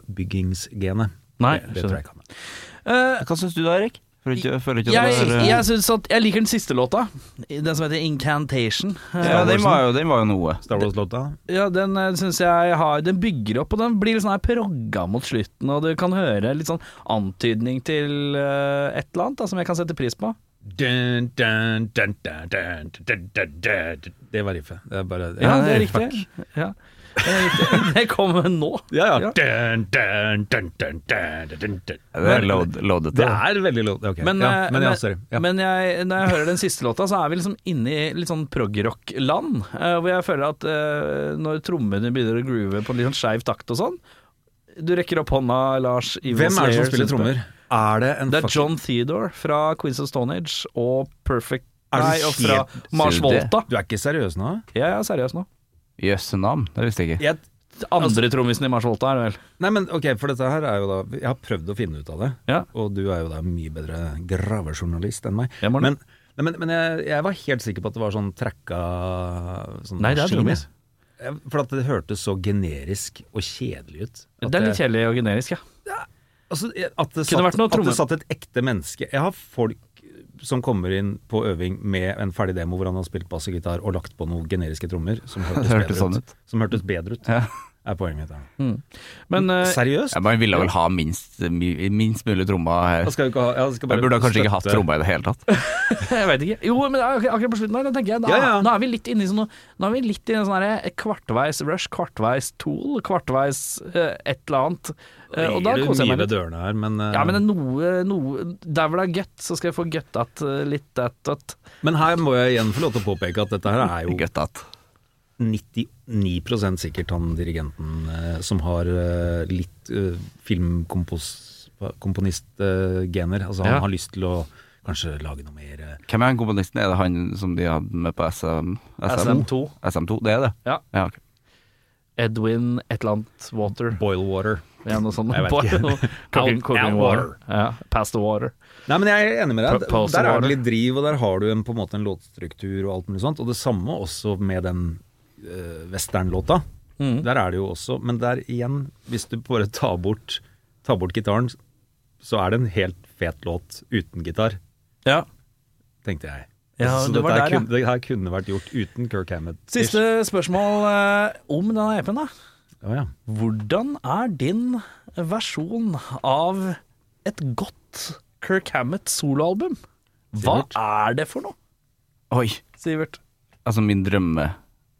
C: låtoppbyggingsgenet.
B: Nei,
C: det, det tror jeg ikke han har.
B: Eh,
D: Hva syns du da, Erik? Føler ikke, føler ikke
B: jeg,
D: det eh, er-
B: jeg synes at jeg liker den siste låta, den som heter 'Incantation'. Eh,
D: ja, den var, jo, den var jo noe.
C: Star Wars-låta?
B: Ja, den eh, synes jeg har Den bygger opp, og den blir litt sånn her progga mot slutten, og du kan høre litt sånn antydning til eh, et eller annet da, som jeg kan sette pris på.
C: Dun, dun, dun, dun, dun, dun, dun, dun, dun. Det var riffet. Det er bare
B: Ja, det er
C: fuck.
B: riktig. Ja. Det, er riktig. <laughs> det kommer nå.
C: Ja,
B: Ja.
C: ja. Dun, dun, dun, dun, dun, dun, dun.
D: Det er load, loadete.
C: Det er veldig låt. ok.
B: Men,
C: ja,
B: eh,
C: men ja, sorry. Ja.
B: men jeg, når jeg hører den siste låta, så er vi liksom inne i litt sånn prog-rock-land. eh, hvor jeg føler at eh, når trommene begynner å groove på en litt sånn skeiv takt og sånn Du rekker opp hånda, Lars. Evil
C: Hvem er det som
B: Slayer,
C: spiller
B: synes jeg.
C: trommer? Er det en
B: Det er
C: fucking-
B: John Theodore fra Queens of Stone Age og Perfect
C: Er du
B: Nei, og fra
C: helt-
B: Mars
D: Sier du det?
B: Volta.
C: Du er ikke seriøs nå?
B: Ja, jeg er seriøs nå.
D: Jøsse navn, det visste jeg ikke.
C: Jeg,
B: Andre
C: Altså-
B: trommisen i Mars Volta er det vel.
C: nei, men ok, for dette her er jo da Jeg har prøvd å finne ut av det,
B: Ja.
C: og du er jo da mye bedre gravejournalist enn meg.
B: Jeg må-
C: men nei, men, men jeg, jeg var helt sikker på at det var sånn tracka sånn
B: Nei, det er
C: maskin,
B: trommis.
C: jeg. Jeg- For at det hørtes så generisk og kjedelig ut. At
B: Det er litt kjedelig og generisk, ja.
C: Altså, jeg- at det,
B: Kunne
C: satt,
B: vært noe
C: at
B: tromme-
C: det satt et ekte menneske Jeg har folk som kommer inn på øving med en ferdig demo hvor han har spilt bass og gitar og lagt på noen generiske trommer som hørtes,
D: <laughs> Det hørtes
C: bedre, ut.
D: sånn ut.
C: Som hørtes bedre ut,
D: Ja. Mm.
C: er poenget mitt. her.
B: Men
C: Mm,
B: eh,
C: Seriøst?
D: Ja, man ville vel ha minst, mi- minst mulig trommer
B: Altså,
D: her.
C: Da skal vi ikke ha, ja, da skal
D: Jeg
C: bare
D: burde kanskje ikke hatt
C: støtte-
D: trommer i det hele tatt.
B: jeg veit ikke. Jo, men ak- akkurat på slutten her, da tenker jeg da,
C: Ja, ja.
B: Nå er vi litt inne i sånn Nå er vi litt i en sånn her kvartveis Rush, kvartveis Tool, kvartveis eh, et eller annet. Eh, og da
C: Legger du
B: koser jeg
C: mye
B: meg
C: ved
B: litt.
C: dørene her, men, eh,
B: Ja, men det er noe, noe Der hvor det er gutt, så skal jeg få guttat eh, litt at, at
C: men her må jeg igjen få lov til å påpeke at dette her er jo
D: Godt at.
C: 99 sikkert han dirigenten eh, som har eh, litt eh, filmkomponistgener. altså han
B: Ja.
C: har lyst til å kanskje lage noe mer eh,
D: Hvem er han komponisten? Er det han som de hadde med på SM,
B: SM2.
D: SM2, det er det?
B: Ja.
D: ja ok.
B: Edwin et eller annet Water.
C: boil water.
B: Ja, noe sånt.
C: Jeg vet
B: Boil-
C: ikke. <laughs>
B: Cooking,
C: Out-
B: cooking
C: out
B: water.
C: water.
B: Ja, pass the water.
C: Nei, men jeg er enig med deg.
B: Propulsor
C: Der er
B: water.
C: det litt driv, og der har du en, på en måte en låtstruktur og alt mulig sånt. Og det samme også med den eh, westernlåta. Der er det jo også Men der igjen, hvis du bare tar bort, tar bort gitaren, så er det en helt fet låt uten gitar,
B: Ja.
C: tenkte jeg.
B: Ja,
C: så
B: det var
C: her
B: der, ja.
C: kunne, det her kunne vært gjort uten Kirk Hammett.
B: Siste spørsmål eh, om denne EP-en, da.
C: Å ja.
B: Hvordan er din versjon av et godt Kirk Hammett soloalbum? Hva
C: Sivert?
B: er det for noe,
D: Oi,
B: Sivert?
D: altså min drømme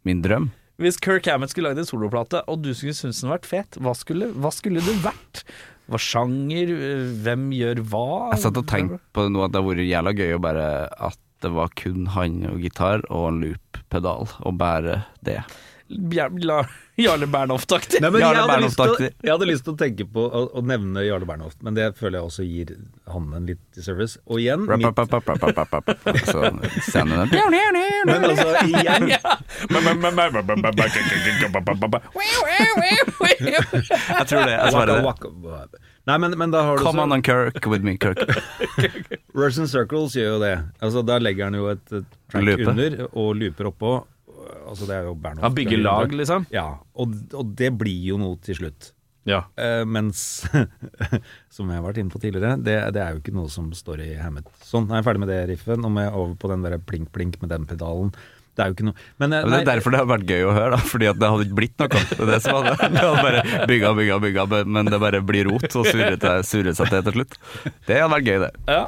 D: Min drøm?
B: Hvis Kirk Hammett skulle lagd en soloplate, og du skulle synes den var fet, hva skulle, hva skulle det vært? Hva sjanger? eh, Hvem gjør hva?
D: Jeg satt og tenkte på det nå at det har vært jævla gøy å bare at det var kun han og gitar og en loop-pedal, og bare det.
B: Bjar- La- Jarle Bernhoft-aktig.
C: Nei, men jeg,
D: Jarle
C: hadde lyst til, å-
D: Bernhoft-aktig.
C: jeg hadde lyst til å tenke på å, å nevne Jarle Bernhoft, men det føler jeg også gir han en litt disservice. Og igjen,
D: Rap,
C: mitt
D: rap, rap, rap, rap, rap, rap, rap. Så sender den.
C: Men altså,
B: <laughs>
C: igjen
D: Jeg tror det. Jeg
C: Waka
D: svarer det.
C: waka waka. Nei, men, men da har du
D: Come on
C: så
D: and Kirk with me, Kirk.
C: Russian Circles gjør jo det. Altså, Da legger han jo et eh, track
D: Lupe.
C: under og looper oppå. Altså, det er jo Bernhoft.
B: Han bygger lag, liksom.
C: Ja, og, og det blir jo noe til slutt.
B: Ja.
C: Eh, mens, <laughs> som jeg har vært inne på tidligere, det, det er jo ikke noe som står i Hammett. Sånn, nå er jeg ferdig med det riffen, og med over på den der plink-plink med den pedalen. Det er jo ikke noe Men, eh,
D: Ja, men det er
C: nei,
D: derfor det hadde vært gøy å høre, da, fordi at det hadde ikke blitt noe. Det er det som hadde, det hadde bare bygga, bygga, bygga, men det bare blir rot og surret det- surret seg til til slutt. Det hadde vært gøy, det.
B: Ja.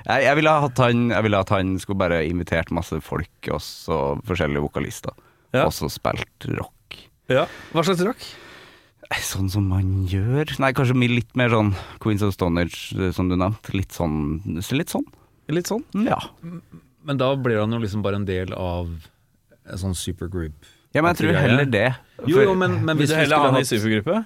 D: Jeg, jeg, ville ha hatt han, jeg ville at han skulle bare invitert masse folk, også forskjellige vokalister,
B: Ja.
D: og så spilt rock.
B: Ja. Hva slags rock?
D: Nei, Sånn som man gjør Nei, kanskje mi- litt mer sånn Queens of Stonehenge, eh, som du nevnte. Litt sånn. Litt sånn.
B: Litt sånn.
D: Ja.
C: men da blir han jo liksom bare en del av en sånn supergroup.
D: ja, men jeg tror heller det.
C: Jo, jo, men, men
B: Vil
C: hvis
B: du
C: vi
B: heller
C: skulle
B: ha han i
C: hatt-
B: supergruppe?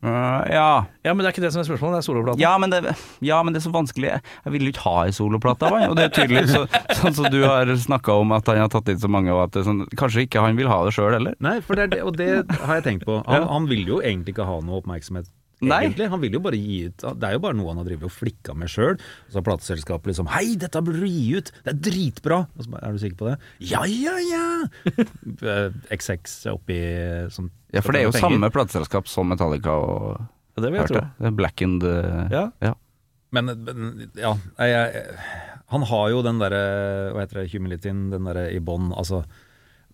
D: Eh, ja.
B: Ja, men det er ikke det som er spørsmålet, det er soloplaten.
D: Ja men, det, ja, men det er så vanskelig. Jeg vil jo ikke ha ei soloplate av han. Og det er tydelig, så, sånn som du har snakka om at han har tatt inn så mange, og at det er sånn, kanskje ikke han vil ha det sjøl heller. <laughs>
C: Nei, for det er det, og det har jeg tenkt på. Han, han vil jo egentlig ikke ha noe oppmerksomhet
D: Nei.
C: egentlig. Han vil jo bare gi ut Det er jo bare noe han har drevet og flikka med sjøl. Så har plateselskapet liksom 'Hei, dette burde du gi ut! Det er dritbra!' Og så bare 'Er du sikker på det?' 'Ja, ja,
D: <laughs>
C: ja!' Eh, XX er oppi eh, sånn- som
D: Ja, for det er jo
C: penger.
D: samme plateselskap som Metallica og
B: Ja, det vil jeg
D: Hørte
B: tro.
D: jeg. Det er Blackened eh,
B: Ja.
D: ja.
C: Men, men ja nei, jeg, Han har jo den derre Hva heter det, humilityen, den derre i bånn. Altså,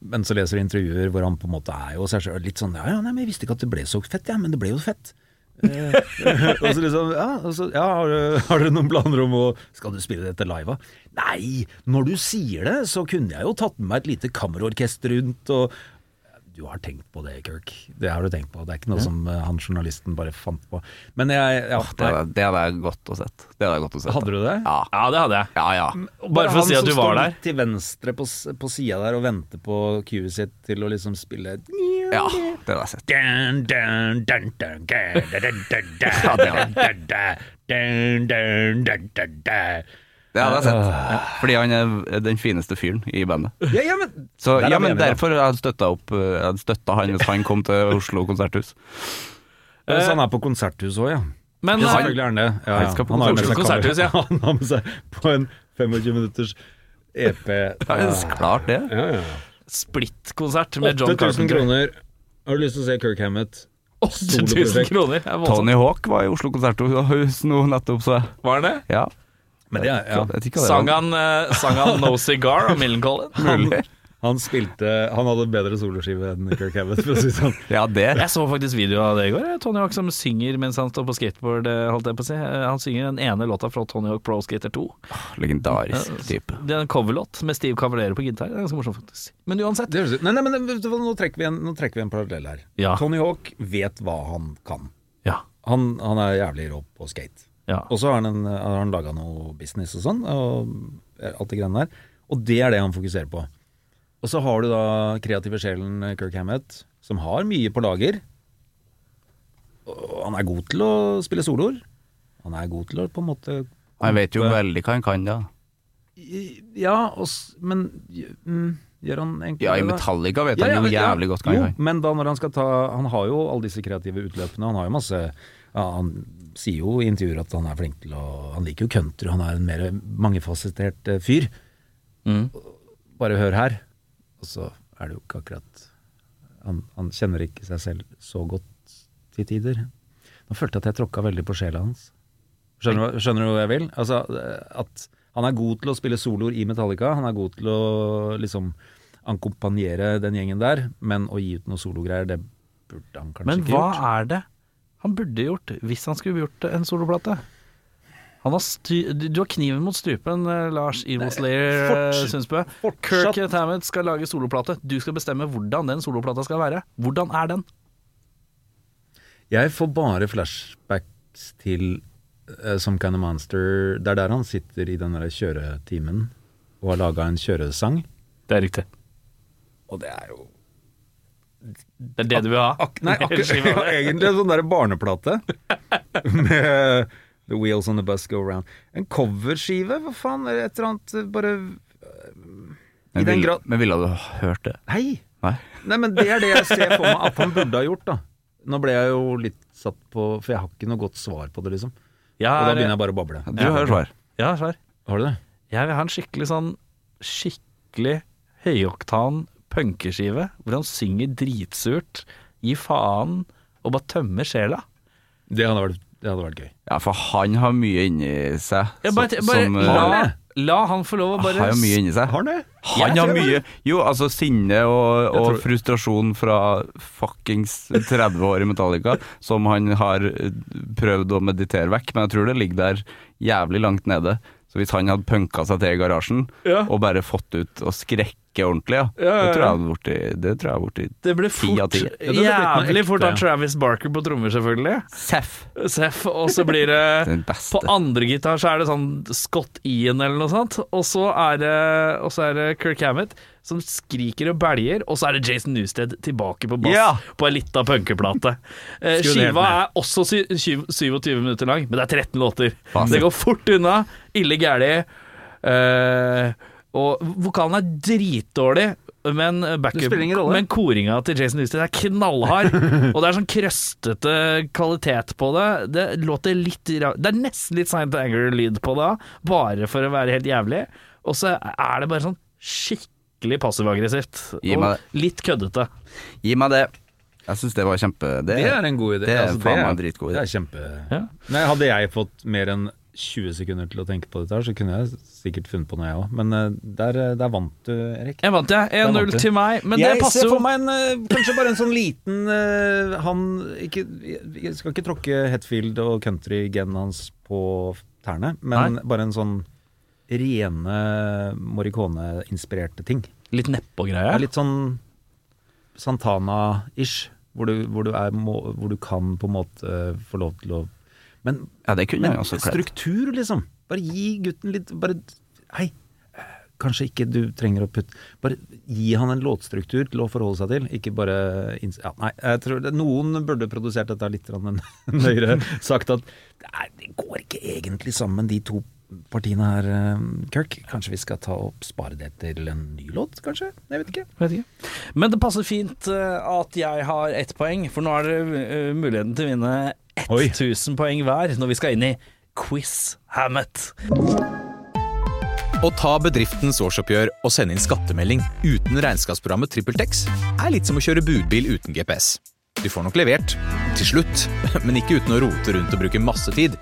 C: men så leser du intervjuer hvor han på en måte er jo seg selv litt sånn Ja, ja, nei, men jeg visste ikke at det ble så fett, ja, men det ble jo fett. Eh, <laughs> og så liksom Ja, og så, ja har, du, har du noen planer om å Skal du spille dette live, da? Nei, når du sier det, så kunne jeg jo tatt med meg et lite kammerorkester rundt og du har tenkt på det, Kirk. Det har du tenkt på. Det er ikke noe som eh, han journalisten bare fant på. Men jeg ja,
D: Det
C: nei.
D: hadde, det hadde jeg godt å sett. Det hadde jeg godt å sett.
C: Hadde Mm. du det?
D: Ja.
B: Ja, det hadde jeg.
D: ja, ja.
B: Bare for å
C: han
B: si at
C: som
B: du var
C: står
B: der.
C: litt Til venstre på, s- på sida der og venter på cuet sitt til å liksom spille
D: Ja, det hadde jeg sett.
C: Dun, dun, dun, dun, dun, dun, dun,
B: <laughs>
C: dun,
D: Ja, det var-
C: dun, dun, dun, dun, dun, dun.
D: Det hadde jeg sett. Fordi han er den fineste fyren i bandet.
C: Ja, ja, men
D: Så,
C: Der er
D: ja,
C: vi
D: men
C: enige, da.
D: derfor hadde jeg støtta opp eh, Jeg hadde støtta han hvis han kom til Oslo
C: <laughs>
D: konserthus.
B: Eh.
C: Ja, Så Altså, han er på konserthus òg, ja.
B: Men
C: ja,
B: eh,
C: selvfølgelig er han det. Ja,
D: Han skal
C: har
D: på
C: med
B: Oslo
C: seg
B: konserthus, ja.
C: kamera. <laughs> Han har med seg på en 25 minutters
B: <laughs>
C: EP.
D: Ja, klart det.
C: Ja, ja, ja.
B: Splitt-konsert med John
C: 8000
B: Carpenter.
C: kroner. Har du lyst til å se Kirk Hammett?
B: 8000 kroner. Det er voldsomt.
D: Tony Hawk var i Oslo konserthus nå nettopp, så jeg.
B: Var det det?
D: Ja.
C: Men det er, ja.
D: Så jeg tenker det var-
B: Sang han, eh, sang han No Cigar av <laughs> Millencolin?
D: Mulig.
C: Han spilte Han hadde bedre soloskive enn Kirk Hammett, for å si det sånn.
D: Ja, det.
B: Jeg så faktisk video av det i går. eh, Tony Hawk som synger mens han står på skateboard. eh, Holdt jeg på å si. Eh, Han synger den ene låta fra Tony Hawk Pro Skater 2.
D: Legendarisk type.
B: Det er en coverlåt med Steve Cavalero på gitar. Det er ganske morsomt, faktisk. Men uansett.
C: Det høres ut Nei, nei, men vet du hva, nå trekker vi en, nå trekker vi en parallell her.
B: Ja.
C: Tony Hawk vet hva han kan.
B: Ja.
C: Han, han er jævlig rå på skate.
B: ja.
C: Og så har han, en- har han laga noe business og sånn, og alt det greiene der. Og det er det han fokuserer på. Og så har du da kreative sjelen Kirk Hammett, som har mye på lager. Og han er god til å spille soloer. Han er god til å på en måte
D: Han vet jo veldig hva han kan, da.
C: Ja, og, s- men mm, gjør han egentlig
D: Ja, i
C: det, da?
D: Metallica vet han jo
C: men-
D: jævlig godt hva
C: jo,
D: han kan.
C: Men da når han skal ta Han har jo alle disse kreative utløpene. Han har jo masse ja, Han sier jo i intervjuer at han er flink til å Han liker jo country, han er en mer mangefasettert eh, fyr.
D: Mm.
C: Bare hør her. Og så er det jo ikke akkurat han, han kjenner ikke seg selv så godt til tider. Nå følte jeg at jeg tråkka veldig på sjela hans. Skjønner du, hva- skjønner du hva jeg vil? Altså, eh, at han er god til å spille soloer i Metallica. Han er god til å liksom akkompagnere den gjengen der, men å gi ut noe sologreier, det burde han kanskje
B: Men
C: ikke
B: hva
C: gjort.
B: er det han burde gjort hvis han skulle gjort en soloplate? Han har sty du du har kniven mot strupen, eh, Lars eh, Evilslayer
C: forts-
B: Sundsbø.
C: fortsatt-
B: Kirk Tammet skal lage soloplate. Du skal bestemme hvordan den soloplata skal være. Hvordan er den?
C: Jeg får bare flashbacks til eh, Some Kind of Monster. Det er der han sitter i den der kjøretimen og har laga en kjøresang.
B: Det er riktig.
C: Og det er jo
B: Det er det du vil ha?
C: Ak
B: <laughs>
C: nei, akkurat, <laughs> ja, egentlig en sånn der barneplate <laughs> med The Wheels on the Bus Go Round. En coverskive, hva faen? Eller et eller annet bare I
D: Men,
C: den
D: vil-
C: grad
D: men ville du hørt det?
C: Hei!
D: Nei.
C: Nei, men det er det jeg ser for meg at han burde ha gjort, da. Nå ble jeg jo litt satt på For jeg har ikke noe godt svar på det, liksom. Og da begynner jeg bare å bable.
D: Du har svar.
B: Ja, svar.
C: Har du det?
B: Jeg vil ha en skikkelig sånn skikkelig høyoktan punkeskive hvor han synger dritsurt, gir faen og bare tømmer sjela.
C: Det hadde vært, det hadde vært gøy.
D: Ja, for han har mye inni seg.
B: Ja, bare,
D: som-
B: bare
D: som,
B: la,
D: eh,
B: la han få lov å
D: han
B: bare
D: har jo mye inni seg.
C: han det?
D: Han har mye Jo, altså sinne og,
C: Jeg
D: og
C: tror-
D: frustrasjon fra fuckings 30 år i Metallica, som han har eh, prøvd å meditere vekk, men jeg tror det ligger der jævlig langt nede. Så hvis han hadde punka seg til i garasjen
B: Ja.
D: og bare fått ut og skrekke ordentlig, ja,
B: Ja, ja,
D: det tror
B: ja.
D: jeg hadde borti- det tror jeg hadde blitt
B: Det ble
D: Ti av
B: fort,
D: ti.
C: det ble litt mer
B: jævlig
C: ekte.
B: fort av Travis Barker på trommer, selvfølgelig.
D: Seff.
B: Seff, og så blir det
C: <laughs>
D: Den beste.
B: På andre gitar så er det sånn Scott Ian eller noe sånt, og så er det, og så er det Kirk Hammett som skriker og belger, og så er det Jason Newsted tilbake på bass
D: Ja.
B: på ei lita punkeplate. Eh,
C: Skru ned
B: Skiva
C: den.
B: er også sy- syv- 27 minutter lang, men det er 13 låter.
D: Faen.
B: Det går fort unna. Ille gæli. Eh, og vokalen er dritdårlig. men backup
C: Det spiller ingen rolle.
B: Men koringa til Jason Newsted er
C: <laughs>
B: knallhard. og det er sånn krøstete kvalitet på det. Det låter litt ra- Det er nesten litt Sign to Anger-lyd på det, bare for å være helt jævlig. Og så er det bare sånn skikkelig passiv-aggressivt.
D: Gi
B: Og
D: meg det.
B: litt køddete.
D: Gi meg det. Jeg syns det var kjempe... Det,
C: Det er en god idé.
D: Det er
C: Altså,
D: faen
C: det
D: meg
C: er-
D: en dritgod idé.
C: Det er kjempe...
B: Ja.
C: Nei, hadde jeg fått mer enn 20 sekunder til å tenke på dette, her, så kunne jeg sikkert funnet på noe, jeg òg. Men eh, der, eh, der vant du, Erik.
B: Jeg vant, jeg.
C: Der vant
B: 1-0
C: du.
B: til meg. Men det
C: jeg
B: passer
C: ser
B: jo.
C: for meg en, eh, kanskje bare en sånn liten eh, Han ikke, Jeg skal ikke tråkke Hetfield og country-genen hans på tærne, men bare en sånn rene Morricone-inspirerte ting.
B: Litt
C: Det
B: nedpå-greie.
C: er litt sånn Santana-ish, hvor, du- hvor, du er må- hvor du kan på en måte eh, få lov til å Men
D: Ja, det kunne jeg
C: men
D: også kledd.
C: struktur, liksom. Bare gi gutten litt Bare Hei, eh, kanskje ikke du trenger å putte Bare gi han en låtstruktur til å forholde seg til, ikke bare inns- ja, Nei, jeg tror det, noen burde produsert dette litt grann <laughs> nøyere. Sagt at nei, det går ikke egentlig sammen, de to partiene her, eh, Kirk. Kanskje vi skal ta og spare det til en ny låt, kanskje? Jeg vet ikke.
B: Vet ikke. Men det passer fint eh, at jeg har ett poeng, for nå er det eh, muligheten til å vinne
C: Oi.
B: 1000 poeng hver når vi skal inn i Quiz Hammett.
E: Å ta bedriftens årsoppgjør og sende inn skattemelding uten regnskapsprogrammet TrippelTex er litt som å kjøre budbil uten GPS. Du får nok levert, til slutt, <laughs> men ikke uten å rote rundt og bruke masse tid.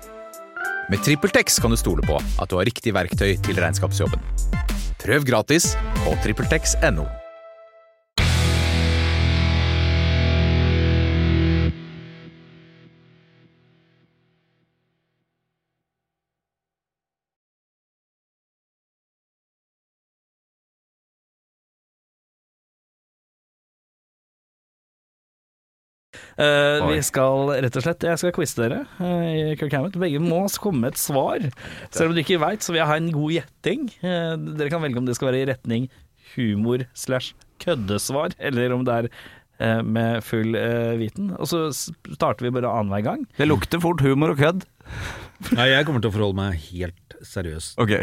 E: Med TrippelTex kan du stole på at du har riktig verktøy til regnskapsjobben. Prøv gratis på TrippelTex.no.
B: Eh,
D: Oi.
B: vi skal rett og slett Jeg skal quize dere eh, i Kirk Hammett. Begge må altså komme med et svar. Selv om du ikke veit, så vil jeg ha en god gjetting. Eh, dere kan velge om det skal være i retning humor slash køddesvar, eller om det er eh, med full eh, viten. Og så starter vi bare annenhver gang.
D: Det lukter fort humor og kødd.
C: Nei, jeg kommer til å forholde meg helt seriøst.
D: Ok,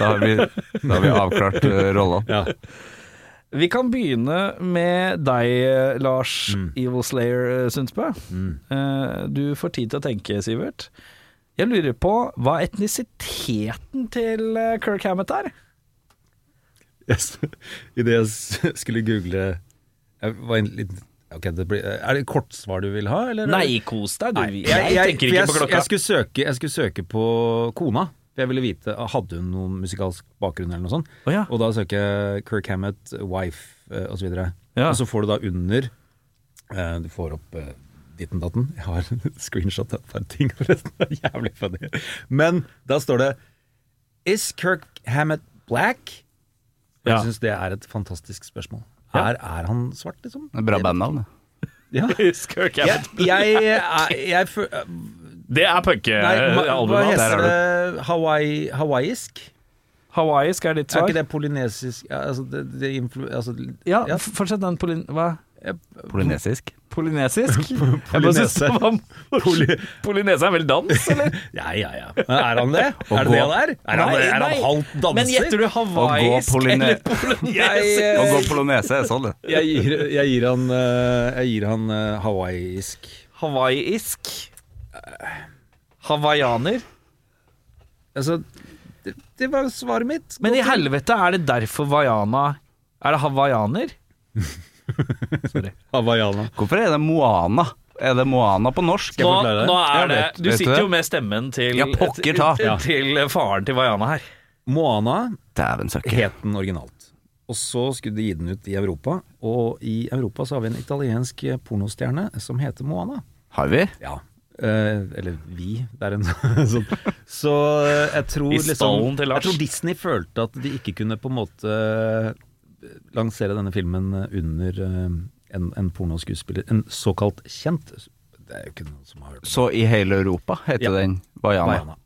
D: da har vi, da har vi avklart eh, rollene.
C: Ja.
B: Vi kan begynne med deg, eh, Lars Evil Slayer eh, Sundsbø. Eh, Du får tid til å tenke, Sivert. Jeg lurer på hva etnisiteten til eh, Kirk Hammett er?
C: <laughs> Idet jeg s- skulle google jeg var en liten, ok, det blir, Er det kortsvar du vil ha, eller?
B: Nei, kos deg, du.
C: Nei,
B: jeg, tenker ikke
C: jeg,
B: på klokka.
C: Jeg skulle, søke, jeg skulle søke på kona. For jeg ville vite Hadde hun noen musikalsk bakgrunn eller noe sånt.
B: Å ja.
C: Og da søker jeg Kirk Hammett, wife eh, og så videre
B: Ja.
C: Og så får du da under eh, Du får opp eh, ditten datten. Jeg har en <laughs> screenshot av et par ting, <laughs> forresten. Det er jævlig funny. Men da står det Is Kirk Hammett black? Jeg
B: Ja.
C: syns det er et fantastisk spørsmål.
B: Ja.
C: Er, er han svart, liksom?
D: Det er Bra bandnavn. det.
C: Ja.
B: Husk Kirk
C: Jeg,
B: Hammett.
C: <laughs> jeg, jeg, jeg, fø-
B: Det er Eh,
C: Nei, hva, hva
B: punkealbumet.
C: heter
B: hans.
C: det? Hawaii, hawaiisk?
B: Hawaiisk er ditt
C: Er
B: svar.
C: ikke det polynesisk ja, altså, det, det influ,
B: <laughs>
C: altså,
B: Ja,
C: ja.
B: f- fortsett den polin... Hva?
D: Polynesisk.
B: <laughs> Polynesisk? Jeg bare synes det var-
C: Poly-
B: Polynese er vel dans, eller?
C: ja, ja, ja. Men er han det?
D: Å
C: Er det det
D: gå-
C: han er? Er han,
B: Nei,
C: er han
B: nei.
C: halvt danser?
B: <laughs> Men gjetter du hawaiisk
D: polyne-
B: eller polynesisk?
C: Jeg,
D: Å gå
C: eh,
D: polonese er sånn, det.
C: jeg, gir, jeg gir han, eh, jeg gir han eh, hawaiisk.
B: Hawaiisk? Hawaiianer?
C: Altså, det, det var svaret mitt.
B: Men i helvete, er det derfor Vaiana Er det hawaiianer?
C: Hawaiiana.
D: Hvorfor er det Moana? Er det Moana på norsk?
B: Nå,
C: jeg forklare det?
B: nå
D: Jeg
B: er det
D: vet,
B: Du
D: vet du
B: sitter
D: det?
B: jo med stemmen til
D: Ja, pokker ta.
B: til- Til faren til Vaiana her.
C: Moana
D: Dæven søkker.
C: het den originalt. Og så skulle de gi den ut i Europa, og i Europa så har vi en italiensk eh, pornostjerne som heter Moana.
D: Har vi?
C: Ja. Eh, eller vi, det er en <laughs> sånn Så eh, jeg tror
B: I
C: liksom
B: stallen til
C: Jeg
B: Lars.
C: tror Disney følte at de ikke kunne på en måte eh, lansere denne filmen under eh, en, en pornoskuespiller. En såkalt kjent Det er jo ikke noen som har hørt om
D: Så i hele Europa heter
C: Ja.
D: den Vaiana.
C: Vaiana.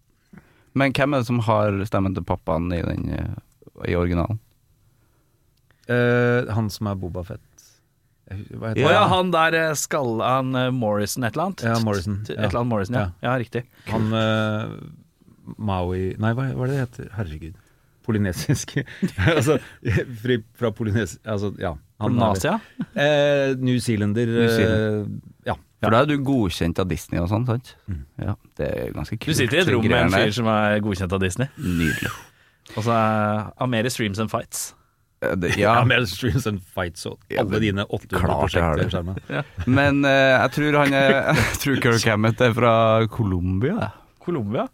D: Men hvem er det som har stemmen til pappaen i den eh, i originalen?
C: Eh, han som er Boba Fett Jeg hu- Hva heter
B: Å ja, han der eh, skall... Han eh, Morrison et eller annet?
C: Ja, Morrison,
B: Et
C: ja.
B: eller annet Morrison, ja. ja riktig.
C: han? Han eh, Maui Nei, hva, hva er det det heter? Herregud. polynesisk <laughs> Altså fri fra polynes... Altså, ja. han er-
B: Nasia?
C: Eh, New Zealander. Eh,
D: Zealand.
C: ja.
D: For da er du godkjent av Disney og sånn, sant? Ja, det er ganske
B: Mm.
D: kult.
B: Du sitter i et rom med en
D: greiene.
B: fyr som er godkjent av Disney.
D: Nydelig.
B: <laughs> Og så er han mer i streams enn fights.
D: Eh, Det,
C: Ja.
D: ja,
C: Mer streams and fights og
D: Ja,
C: alle
D: men
C: dine 800
D: klart jeg
C: prosjekter.
D: har det.
C: skjermen.
D: men eh, jeg tror han er <laughs> Jeg tror Kirk Hammett er fra Colombia. jeg.
B: Colombia.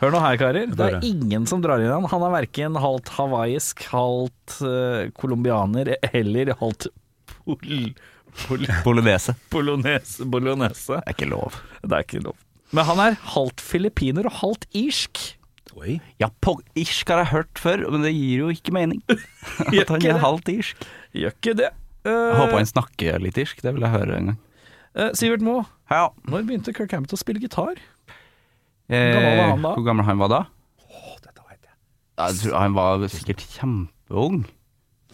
B: Hør nå her, karer. Det
C: Hør
B: er
C: det.
B: ingen som drar inn han. Han er verken halvt hawaiisk, halvt eh, colombianer eller halvt pol... pol
D: Polynese.
B: polonese, polonese.
D: Det er ikke lov.
B: Det er ikke lov. Men han er halvt filippiner og halvt irsk.
C: Oi.
D: Ja, på irsk har jeg hørt før, men det gir jo ikke <laughs> mening. At han
B: ikke
D: er
B: det.
D: halvt irsk.
B: Gjør ikke det.
D: Jeg håper han snakker litt irsk, det vil jeg høre en gang.
B: Eh, Sivert Moe,
D: Ja.
B: når begynte Kirk Hammett å spille gitar? gammel var
D: Eh,
B: han da?
D: hvor gammel han var da? Jeg tror han var sikkert kjempeung.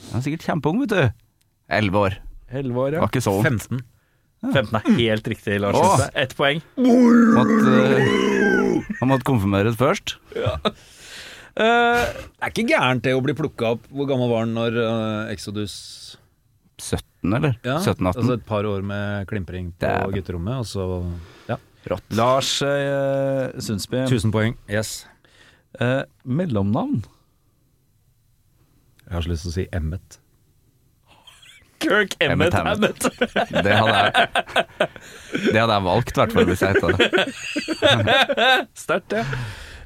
D: Han var sikkert kjempeung, vet du. Elleve år.
B: 11 år,
D: Det
B: ja.
D: var ikke så ungt.
C: 15.
B: 15 er helt riktig, Lars.
D: Åh.
B: Åh. Ett poeng.
D: Måtte, eh, han måtte konfirmeres først.
B: Eh,
C: Det er ikke gærent det å bli plukka opp. Hvor gammel var han når eh, Exodus
D: 17, eller?
C: Ja,
D: 17-18.
C: Altså et par år med klimpring på
D: Dæven.
C: gutterommet, og så ja.
D: Rått.
B: Lars eh, Sundsby,
C: 1000 poeng. Yes.
B: eh, mellomnavn?
C: Jeg har så lyst til å si Emmet.
B: Kirk
D: Emmett Hammett. Det hadde jeg, det hadde jeg valgt, i hvert fall, hvis jeg heta det.
B: <laughs> Sterkt, det.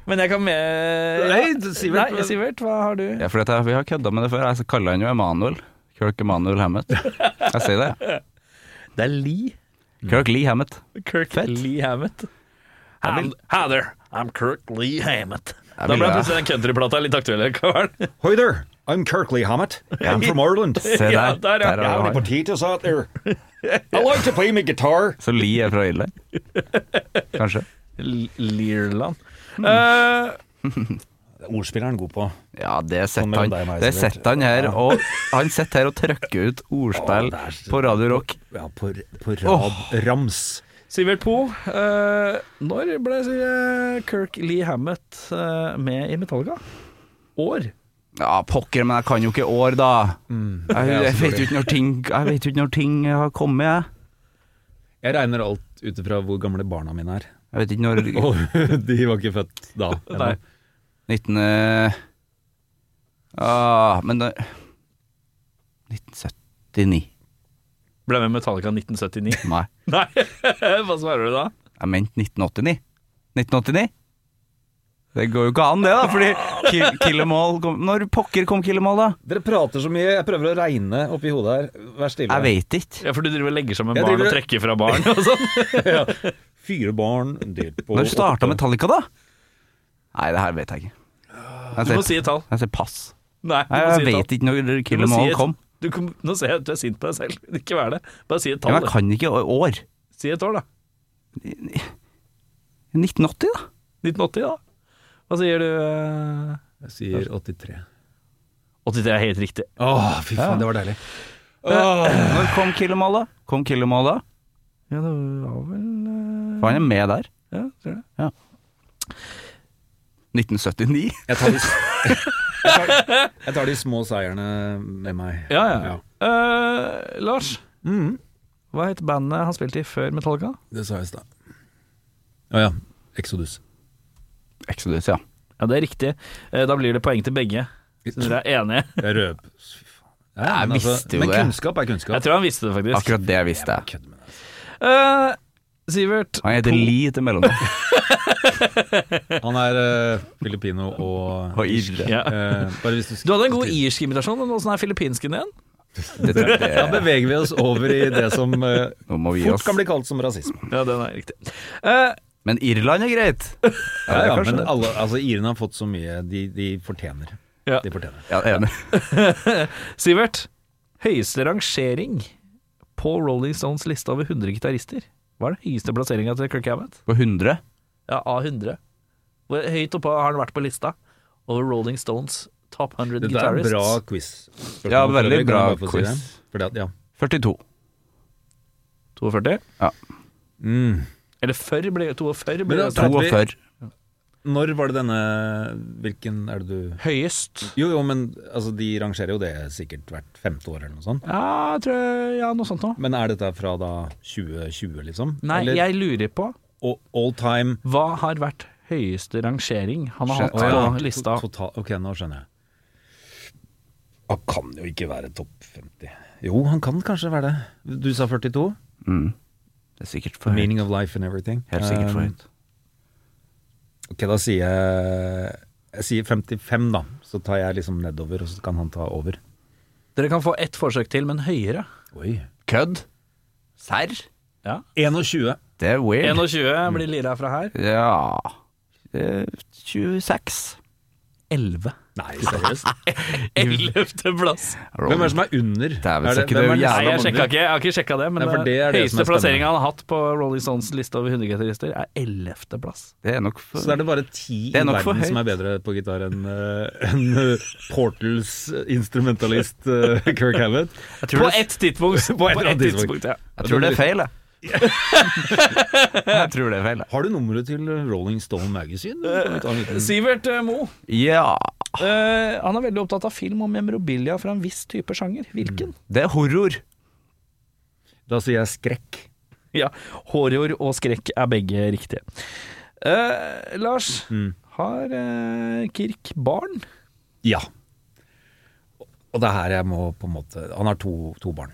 B: Men jeg kan med
C: Nei, Sivert.
B: Nei, Sivert, hva har du?
D: Ja, fordi at jeg, vi har kødda med det før. Jeg kaller han jo Emanuel. Kirk Emanuel Hammett. Jeg sier det. ja.
B: Det er Lee.
D: Kirk Lee Hammett.
B: Kirk Lee Hammett. Ham- Hi there, I'm Kirk Lee Hammett. Da
D: Jeg
B: ble
D: ville-
B: plutselig den countryplata litt aktuell. Karl.
C: Hoi there, I'm Kirkley Hammett. I'm from Ireland.
D: Se der.
B: Ja, der, ja.
D: der
B: Ja,
D: har
C: Howdy
D: du han.
C: potatoes out there. I like to play my guitar.
D: Så Lee er fra Irland? Kanskje?
B: L- Lirland. Eh,
C: Ordspiller er han god på.
D: Ja, det
C: Sånn
D: setter
C: mellom
D: han,
C: deg og meg,
D: det
C: Sivert.
D: setter han her. Og han sitter her og trykker ut ordspill
C: Å, det er så-
D: på Radio Rock.
C: Ja, på, på rad rams.
B: Sivert Poe, eh, når ble eh, Kirk Lee Hammett eh, med i Metallica? År?
D: Ja, pokker, men jeg kan jo ikke år, da. Jeg,
C: det er
D: jeg
C: så
D: vet jo
C: dårlig.
D: ikke når ting Jeg vet jo ikke når ting har kommet, jeg.
C: Jeg regner alt ut ifra hvor gamle barna mine er.
D: Jeg vet ikke når
C: Og <laughs> de var ikke født da.
B: Nei.
D: 19... eh, Ah, men det 1979.
B: Ble med Metallica
D: <laughs>
B: 1979.
D: Nei,
B: Nei, <laughs> hva svarer du da?
D: jeg mente 1989. 1989? Det går jo ikke an, det, da, fordi Ki- Kill 'Em All kom Når pokker kom Kill 'Em All, da?
C: Dere prater så mye, jeg prøver å regne oppi hodet her. Vær stille.
D: Jeg vet ikke.
B: Ja, For du driver og legger sammen
C: Jeg
B: barn og
C: driver-
B: trekker fra barn og sånn?
C: <laughs> Fire barn delt på
D: Når starta
C: åtte.
D: Metallica, da? Nei, det her vet jeg ikke. Jeg <laughs>
B: Du må
D: sier,
B: si et tall.
D: jeg sier pass.
B: Nei, du må
D: Nei,
B: si
D: jeg
B: et tall.
D: vet ikke når
B: Du
D: Kill
B: må
D: 'Em
B: si
D: All
B: et-
D: kom.
B: Du kom. Nå ser jeg at du er sint på deg selv. <laughs> Ikke vær det. Bare si et
D: Ja,
B: tall.
D: men
B: da.
D: jeg kan ikke å- år.
B: Si et år, da.
D: 1980, da?
B: 1980, da. Hva sier du? eh?
C: Jeg sier 83.
B: 83 er helt riktig.
C: Åh, fy faen, det var deilig.
D: Når kom Kill 'Em All, da? Kom Kill 'Em All, da?
B: Ja, det var vel
D: For han er med der.
B: Ja, tror jeg.
D: 1979.
C: Jeg tar de, <laughs> jeg tar, jeg tar de små seierne med meg.
B: Ja, ja. Eh, Lars,
C: Mhm.
B: hva het bandet han spilte i før Metallica?
C: Det sa jeg i stad. Å ja. Exodus.
D: Exodus, ja.
B: Ja, det er riktig. Eh, da blir det poeng til begge. Så dere er
D: <laughs>
B: enige?
C: Jeg røp. Fy faen. Ja,
D: Jeg
C: men altså,
D: visste jo
C: men
D: det.
C: kunnskap er kunnskap.
B: Jeg tror han visste det, faktisk.
D: Akkurat det visste jeg.
C: Kødd med deg.
B: Eh, Sivert
D: Han heter Lee til mellomnavn.
C: <laughs> Han er uh, filippino og
D: Og Irre.
B: ja.
C: Eh, bare hvis du,
B: Du hadde en god irsk imitasjon, men åssen er filippinskene igjen?
D: Det tror jeg det
C: Da
D: er.
C: beveger vi oss over i det som eh,
D: Nå må vi gi
C: fort
D: oss.
C: kan bli kalt som rasisme.
B: Ja, den er riktig. Eh,
D: Men Irland er greit.
C: Ja,
D: det er
C: ja,
D: kanskje
C: men
D: det.
C: alle, altså, irene har fått så mye de, de fortjener.
B: Ja.
C: De fortjener.
D: Ja, enig.
B: Sivert, høyeste rangering på Rolling Stones liste over 100 gitarister. Hva er den høyeste plasseringa til Kirk Hammett?
D: På 100.
B: Ja, A100. Hvor høyt oppå har han vært på lista over Rolling Stones top 100
C: Dette er en
B: guitarists?
C: bra quiz. Spørsmål
D: Ja,
C: for
D: veldig
C: øvrig, kan
D: bra
C: jeg bare få si
D: quiz.
C: det? Fordi at, ja.
D: 42.
B: 42?
D: Ja.
C: Mm.
B: Eller før ble 42
C: Men
B: ble det.
C: da-
B: altså
C: Prater vi-
D: 42.
C: Når var det denne Hvilken er det du
B: Høyest.
C: Jo, jo, men altså, de rangerer jo det sikkert hvert femte år eller noe sånt.
B: Ja, jeg tror Ja, noe sånt noe.
C: Men er dette fra da 2020, liksom?
B: Nei,
C: eller,
B: jeg lurer på
C: all, all time
B: hva har vært høyeste rangering han har hatt
C: Å, ja.
B: på lista.
C: To- Total, ok, nå skjønner jeg. Han kan jo ikke være topp 50. Jo, han kan kanskje være det. Du sa 42?
D: Mm. Det er sikkert for høyt.
C: Meaning of life and everything.
D: Helt sikkert for
C: Um,
D: høyt.
C: Ok, da sier jeg Jeg sier 55, da. Så tar jeg liksom nedover, og så kan han ta over.
B: Dere kan få ett forsøk til, men høyere.
C: Oi.
D: Kødd? Serr?
C: 21.
D: Det er weird.
B: 21 blir
C: Mm.
B: lira fra her.
D: Ja Eh, 26.
B: 11.
C: Nei, seriøst?
B: 11. plass.
C: Hvem er det som er under?
D: Dæven,
C: er
D: så ikke det
C: hvem er
D: er
B: Nei, jeg,
D: jævla
C: som er
B: sjekka
C: under?
B: ikke, jeg har ikke sjekka det, men
C: Nei, for
B: det
C: det er det som
B: høyeste
C: er spennende.
B: plasseringa han har hatt på Rolling Stones liste over 100 gitarister, er 11. plass.
D: Det er nok for
C: Så er det bare ti i
D: Det er nok for
C: verden
D: høyt.
C: som er bedre på gitar enn eh, enn, eh, Portals instrumentalist eh, Kirk Hammett.
B: På ett tidspunkt.
C: <laughs> På et eller annet tidspunkt.
B: ja.
D: Jeg tror det er
C: <laughs>
D: feil, jeg. jeg tror det er feil, jeg.
C: Har du nummeret til Rolling Stone Magazine? Kan vi ta en liten-
B: Sivert eh, Mo
D: Ja.
C: Ah.
B: eh, Han er veldig opptatt av film og memorabilia fra en viss type sjanger. Hvilken?
C: Mm.
D: Det er horror.
C: Da sier jeg skrekk.
B: Ja, Horror og skrekk er begge riktige. Eh, Lars,
C: Mm.
B: har eh, Kirk barn?
C: Ja. Og det er her jeg må på en måte Han har to, to barn,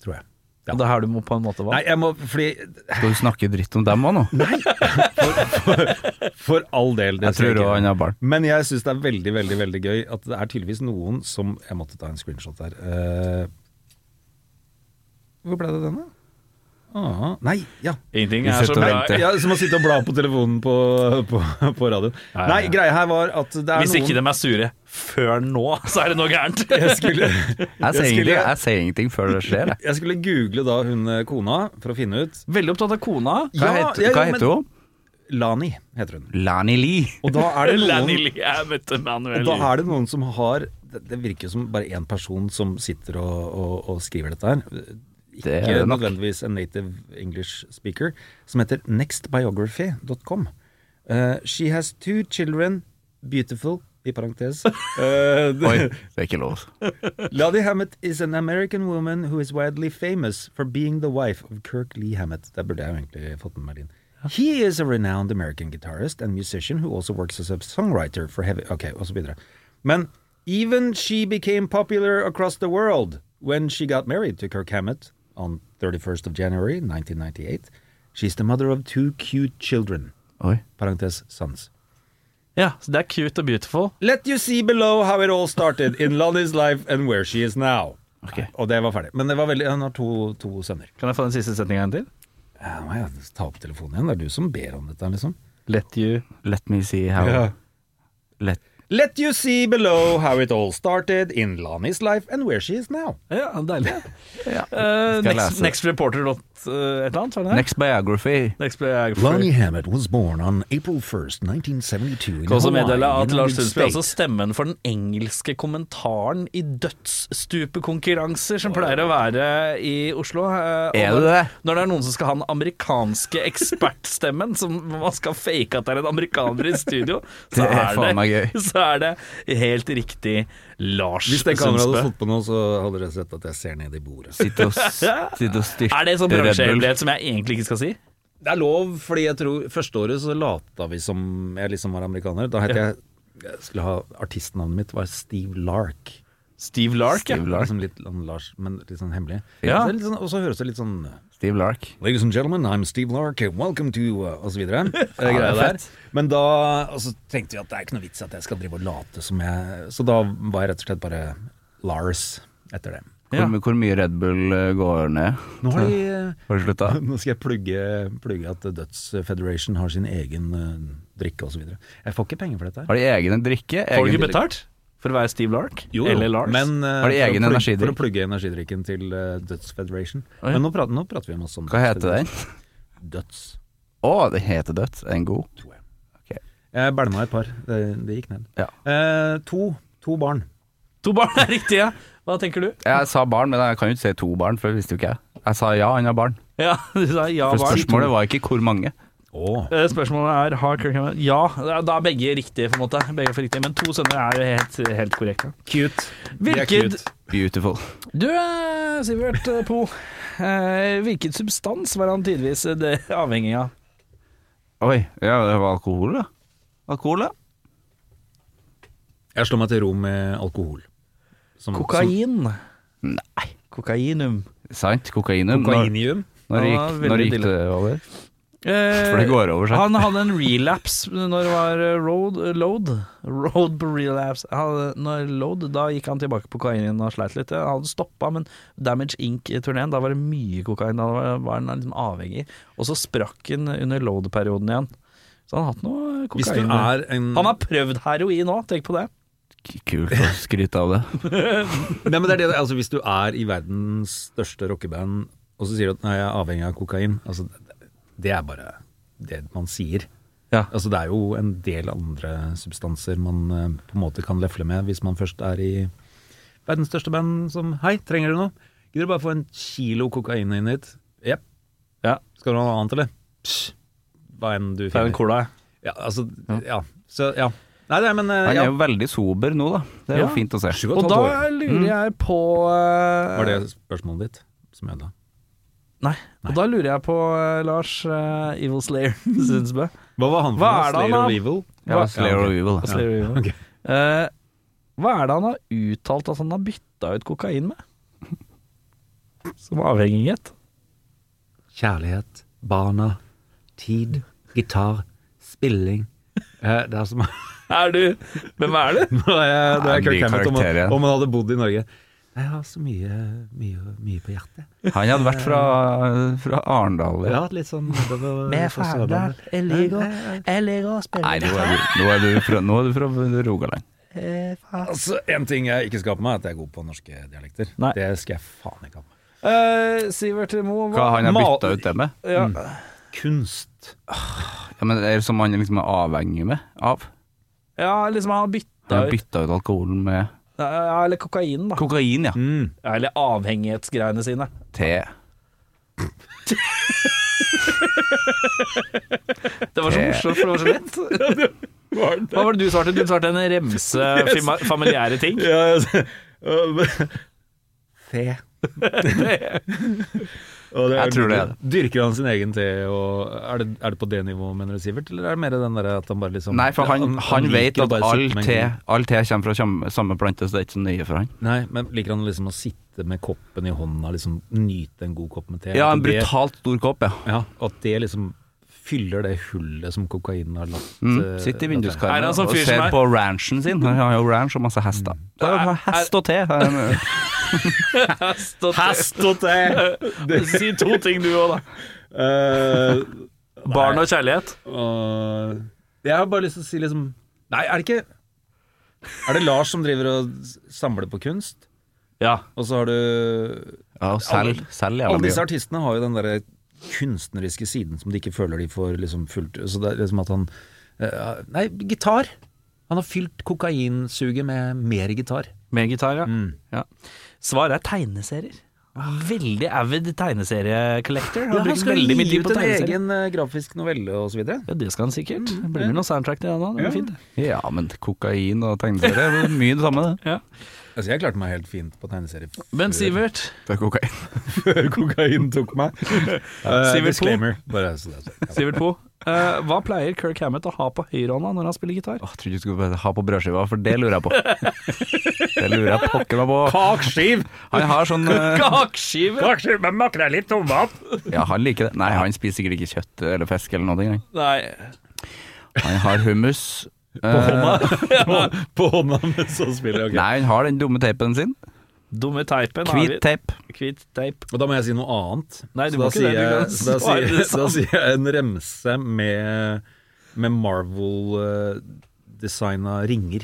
C: tror jeg. Ja.
B: Og Det er her du må på en måte
C: Nei,
B: være.
C: jeg må Fordi
D: Skal du snakke dritt om dem òg nå?
C: For all del. det
D: Jeg tror
C: skal
D: også
C: ikke-
D: han har barn.
C: Men jeg syns det er veldig, veldig veldig gøy at det er tydeligvis noen som Jeg måtte ta en screenshot her. Eh, hvor ble det den, da? Ah, nei, ja.
B: Ingenting
D: Vi sitter og venter.
C: ja. Som å sitte og bla på telefonen på, på, på radioen.
B: Ja, ja,
C: Nei,
B: ja.
C: greia her var at det er
B: Hvis ikke
C: noen
B: de er sure før nå, <laughs> så er det noe gærent.
C: <laughs> jeg
D: <laughs>
C: skulle,
D: Jeg sier,
C: Jeg skulle-
D: ingenting, jeg sier ingenting før det skjer, jeg.
C: jeg skulle google da hun eh, kona for å finne ut.
B: Veldig opptatt av kona.
D: Hva,
C: Ja,
D: heter,
C: ja,
D: hva
C: jo, men-
D: heter hun?
C: Lani heter hun.
D: Lani Lee.
C: Og da er det
B: <laughs>
C: noen
B: jeg møtte Manuel.
C: Og da er det noen som har Det, det virker jo som bare én person som sitter og, og, og skriver dette her. Ikke
D: Det er det nok.
C: nødvendigvis en native English speaker. Som heter nextbiography.com. Eh, she has two children, beautiful i parentes. Eh,
D: Oi, det er ikke lov.
C: Lottie Hammett is an American woman who is widely famous for being the wife of Kirk Lee Hammett. Der burde jeg jo egentlig fått med meg din. He is a renowned American guitarist and musician who also works as a songwriter for heavy Ok, og så videre. Men even she became popular across the world when she got married to Kirk Hammett on 31st of January 1998. She's the mother of two cute children.
D: Oi.
C: Parentes sons.
B: Ja, så det er cute og beautiful.
C: Let you see below how it all started in Lonnie's life and where she is now.
D: Ok.
C: Og det var ferdig. Men det var veldig, han har to, to sønner.
B: Kan jeg få den siste setninga en til?
C: Ja, må jeg ta opp telefonen igjen? Det er du som ber om dette, liksom.
B: Let you
D: Let me see how let,
C: Let you see below how it all started in Lonnie's life and where she is now.
B: Ja, deilig.
C: <laughs>
D: ja.
B: Eh,
D: Skal jeg
B: next,
D: lese?
B: next Reporter dot eh, et eller annet, var det det?
D: Next biography.
B: Next Biography.
F: Lonnie Hammett was born on April 1st, 1972 in
B: Kan også meddele
F: Hawaii,
B: at E Lars
F: United
B: Sundsby er altså
F: States.
B: stemmen for den engelske kommentaren i dødsstupekonkurranser som pleier å være i Oslo. eh, og
D: Er det
B: når-
D: det?
B: Når det er noen som skal ha den amerikanske ekspertstemmen, som man skal fake at det er en amerikaner i
D: <laughs>
B: studio, så
D: Det er
B: er,
D: faen meg
B: det, <laughs> så er det helt riktig Lars
C: Hvis det kameraet hadde
B: Sundsbø.
C: stått på nå, så hadde dere sett at jeg ser ned i bordet.
D: Sitte og, s- sitte og styrte
B: Er det sånn
D: Red Bull.
B: bransjehemmelighet som jeg egentlig ikke skal si?
C: Det er lov, fordi jeg tror første året så lata vi som jeg liksom var amerikaner. Da het jeg, jeg skulle ha Artistnavnet mitt var Steve Lark.
B: Steve Lark, ja.
D: Steve Lark.
C: Liksom litt sånn Lars, men litt sånn hemmelig.
B: Ja.
C: Det er litt sånn- Og så høres det litt sånn
D: Steve Lark.
C: Ladies and gentlemen, I'm Steve Lark, and welcome to uh, Og så <laughs> videre. Det er greia der.
D: fett.
C: Men da Og så tenkte vi at det er ikke noe vits at jeg skal drive og late som jeg Så da var jeg rett og slett bare Lars etter det.
D: Hvor, my- hvor mye Red Bull eh, går ned?
C: Nå, har de,
D: Har du slutta?
C: <laughs> nå skal jeg plugge, plugge at Døds Federation har sin egen eh, drikke og så videre. Jeg får ikke penger for dette her.
D: Har de egen drikke?
B: Får du
D: Egen
B: ikke
D: drikke?
B: betalt for å være Steve Lark? Eller Lars?
C: Men, eh,
D: Har
C: for
D: de
C: å
D: egen
C: plugge-
D: energidrikk?
C: For å plugge energidrikken til eh, Døds Federation.
B: Oi.
C: Men nå prater, nå prater vi masse om
D: Hva
C: Døds
D: heter den?
C: Federation. Døds.
D: Å, den heter Dødt. Er den god?
C: Tror jeg.
D: Ok.
C: Jeg bælma et par. Det, det gikk ned.
D: Ja.
C: Eh, to. To barn.
B: To barn er riktig, ja. Hva tenker du?
D: Jeg sa barn, men jeg kan jo ikke si to barn, for det visste jo ikke jeg. Jeg sa ja, han har barn.
B: Ja, <laughs> du sa ja,
D: For
B: barn.
D: spørsmålet var ikke hvor mange.
C: Åh.
B: Eh, Spørsmålet er har Kirk Hammett Ja, da- da er begge riktige, på en måte. Begge er for riktige, Men to sønner er jo helt, helt korrekte.
C: Cute. er
B: Hvilket
C: cute.
D: Beautiful.
B: Du, eh, Sivert eh, Poe. eh, Hvilken substans var han tidvis eh, det avhengig av?
D: Oi, ja, det var alkohol, da. Alkohol, da.
C: Jeg slår meg til ro med alkohol. Som,
B: Kokain.
D: Nei.
B: Kokainum.
D: Sant, kokainum.
C: Som kokainium.
D: Når,
B: Ja,
D: når, gikk,
B: veldig
D: når gikk
B: dille.
D: det over?
B: Eh,
D: For det går over seg.
B: Han hadde en relapse når det var eh, road, eh, load. Road på relapse. Han, når load, da gikk han tilbake på kokainen og sleit litt. Han stoppa, men Damage Inc.-turneen, da var det mye kokain. Da var- var han liksom avhengig. Og så sprakk han under load-perioden igjen. Så han har hatt noe
C: Hvis du
B: kokain.
C: er en
B: Han har prøvd heroin òg, tenk på det.
D: K- Kult å skryte av det.
C: Nei, men det er det, altså, Hvis du er i verdens største rockeband, og så sier du at nei, jeg er avhengig av kokain altså, det- Det er bare det man sier.
B: Ja.
C: Altså, det er jo en del andre substanser man eh, på en måte kan lefle med hvis man først er i verdens største band som Hei, trenger du noe? Gidder du bare få en kilo kokain inn hit? Jepp.
B: Ja.
C: Skal du ha noe annet, eller? Psj. Hva enn du
B: Det er
C: finner.
B: en cola.
C: Ja, altså, ja. Så, ja. Nei, nei, men eh,
D: <laughs> Han
C: ja.
D: er jo veldig sober nå, da. Det er
B: Ja.
D: jo fint å se.
C: Sju og
B: Og
C: et
B: da
C: halvt år.
B: lurer jeg på eh,
C: Var det spørsmålet ditt som ødela?
B: Nei. Og da lurer jeg på eh, Lars eh, Evil Slayer <laughs> Sundsbø.
C: Hva var han for
B: Hva
C: noe?
B: er det han
C: Slayer
B: har-
C: of Evil?
D: Ja, Slayer
C: Ja,
D: og
C: ok.
D: Evil. altså.
B: Hva
D: da.
B: sier du, Ivan?
C: ok.
B: Eh, hva er det han har uttalt at han har bytta ut kokain med? Som avhengighet?
C: Kjærlighet, barna, tid, gitar, spilling Eh, Det er som
B: Er du Hvem er du?
C: <laughs> Nå er jeg, nå er jeg
D: Det er
C: Kirk
D: mye
C: Hammett, om,
D: karakter igjen.
C: han- om han hadde bodd i Norge. Jeg har så mye, mye, mye på hjertet.
D: Han hadde vært fra, fra Arendal.
C: Jeg
D: Ja.
C: har hatt litt sånn nedover
B: <laughs>
C: på Eh, Sørlandet.
B: jeg ligger, og
D: Nei, nå er, du, nå, er du fra, nå er du fra Rogaland.
C: Altså, En ting jeg ikke skal ha på meg, er at jeg er god på norske dialekter.
B: Nei.
C: Det skal jeg faen ikke ha på meg.
B: Eh, Sivert Mo
D: Hva han har
B: mal-
D: bytta ut det med?
B: ja.
C: Kunst.
D: Ja, men det er Som han liksom er avhengig med, av?
B: ja, liksom han har
D: Han
B: bytta
D: har
B: ut
D: bytta ut alkoholen med
B: Ja, Eller kokainen, da.
D: kokain, ja.
C: Mm.
B: Ja, Eller avhengighetsgreiene sine.
D: Te.
B: Det var så morsomt, for det var så <laughs> lett. Hva var det du svarte? Du svarte en remse fima- familiære <laughs> ting.
C: Ja, altså, Fe. <laughs> Og
D: Jeg tror det er det.
C: Dyrker han sin egen te, og er det, er det på det nivået, mener du, Sivert? Eller er det mer den derre at han bare liksom
D: Nei, for han, han vet
C: liker å
D: at
C: bare
D: all
C: sitte med en
D: te,
C: kopp.
D: all te kommer fra samme- samme plante, så det er ikke så nøye for han.
C: Nei, men liker han liksom å sitte med koppen i hånda, liksom nyte en god kopp med te? At
D: Ja, Mm. en
C: det-
D: brutalt stor kopp, ja.
C: Ja, at det liksom fyller det hullet som kokainen har latt eh,
D: Mm. Sitter i
B: Er
D: vinduskarmen
B: han sånn
D: og
B: fyr som
D: ser
B: er-
D: på ranchen sin. Han har jo ranch og masse hester. Så han har Hest <laughs> og te.
B: Hest og
C: Hest og
B: <laughs>
C: te!
B: Si to ting du òg, da.
C: Eh,
B: Barn og kjærlighet.
C: Og jeg har bare lyst til å si liksom Nei, er det ikke Er det Lars som driver og s- samler på kunst?
B: Ja.
C: Og så har du
D: Ja, og selg, selg jævla
C: Alle disse
D: mye.
C: artistene har jo den derre kunstneriske siden som de ikke føler de får liksom fullt Så det er liksom at han eh, Nei, gitar. Han har fylt kokainsuget med mer gitar.
B: Med gitar, ja.
C: Mm.
B: ja. Svaret er tegneserier. Veldig avid tegneseriecollector. Han
C: han
B: bruker
C: skal
B: veldig
C: gi
B: mye tid
C: ut
B: på
C: en
B: tegneserier.
C: egen Mm, eh, grafisk novelle og så videre.
B: Ja, det skal han sikkert. Det blir noe soundtrack til den da. Det blir fint.
D: Ja, men kokain og tegneserier det er mye det samme, det.
C: Altså, jeg klarte meg helt fint på tegneserie f-
B: Men Sivert,
D: Det er kokain.
C: før <laughs> kokain tok <laughs> meg. Eh,
B: Sivert Poe.
C: disclaimer. Bare, så det er sagt.
B: Sivert Poe. eh, hva pleier Kirk Hammett å ha på høyrehånda når han spiller
C: <laughs>
B: gitar?
D: Åh, trodde du skulle bare ha på brødskiva, for det lurer jeg <laughs> på. Det lurer jeg pokker meg på.
C: Kakskiv!
D: Han har sånn eh,
B: Kakeskive!
C: Kakskiv med makrell i tomat!
D: Ja, han liker det. Nei, han spiser sikkert ikke kjøtt eller fisk eller noe. han.
B: Nei.
D: Han har hummus. Eh,
C: på, på hånda mens han spiller. ok.
D: nei, han har den dumme teipen sin.
B: <laughs> Dumme teipen. har
D: Hvit
B: vi.
D: teip.
B: Hvit teip.
C: Og da må jeg si noe annet.
B: Nei, du
C: Så da
B: må ikke det,
C: sier
B: du kan
C: jeg- så Da
B: svare
C: sier,
B: det
C: da sier jeg en remse med, med Marvel-designa ringer.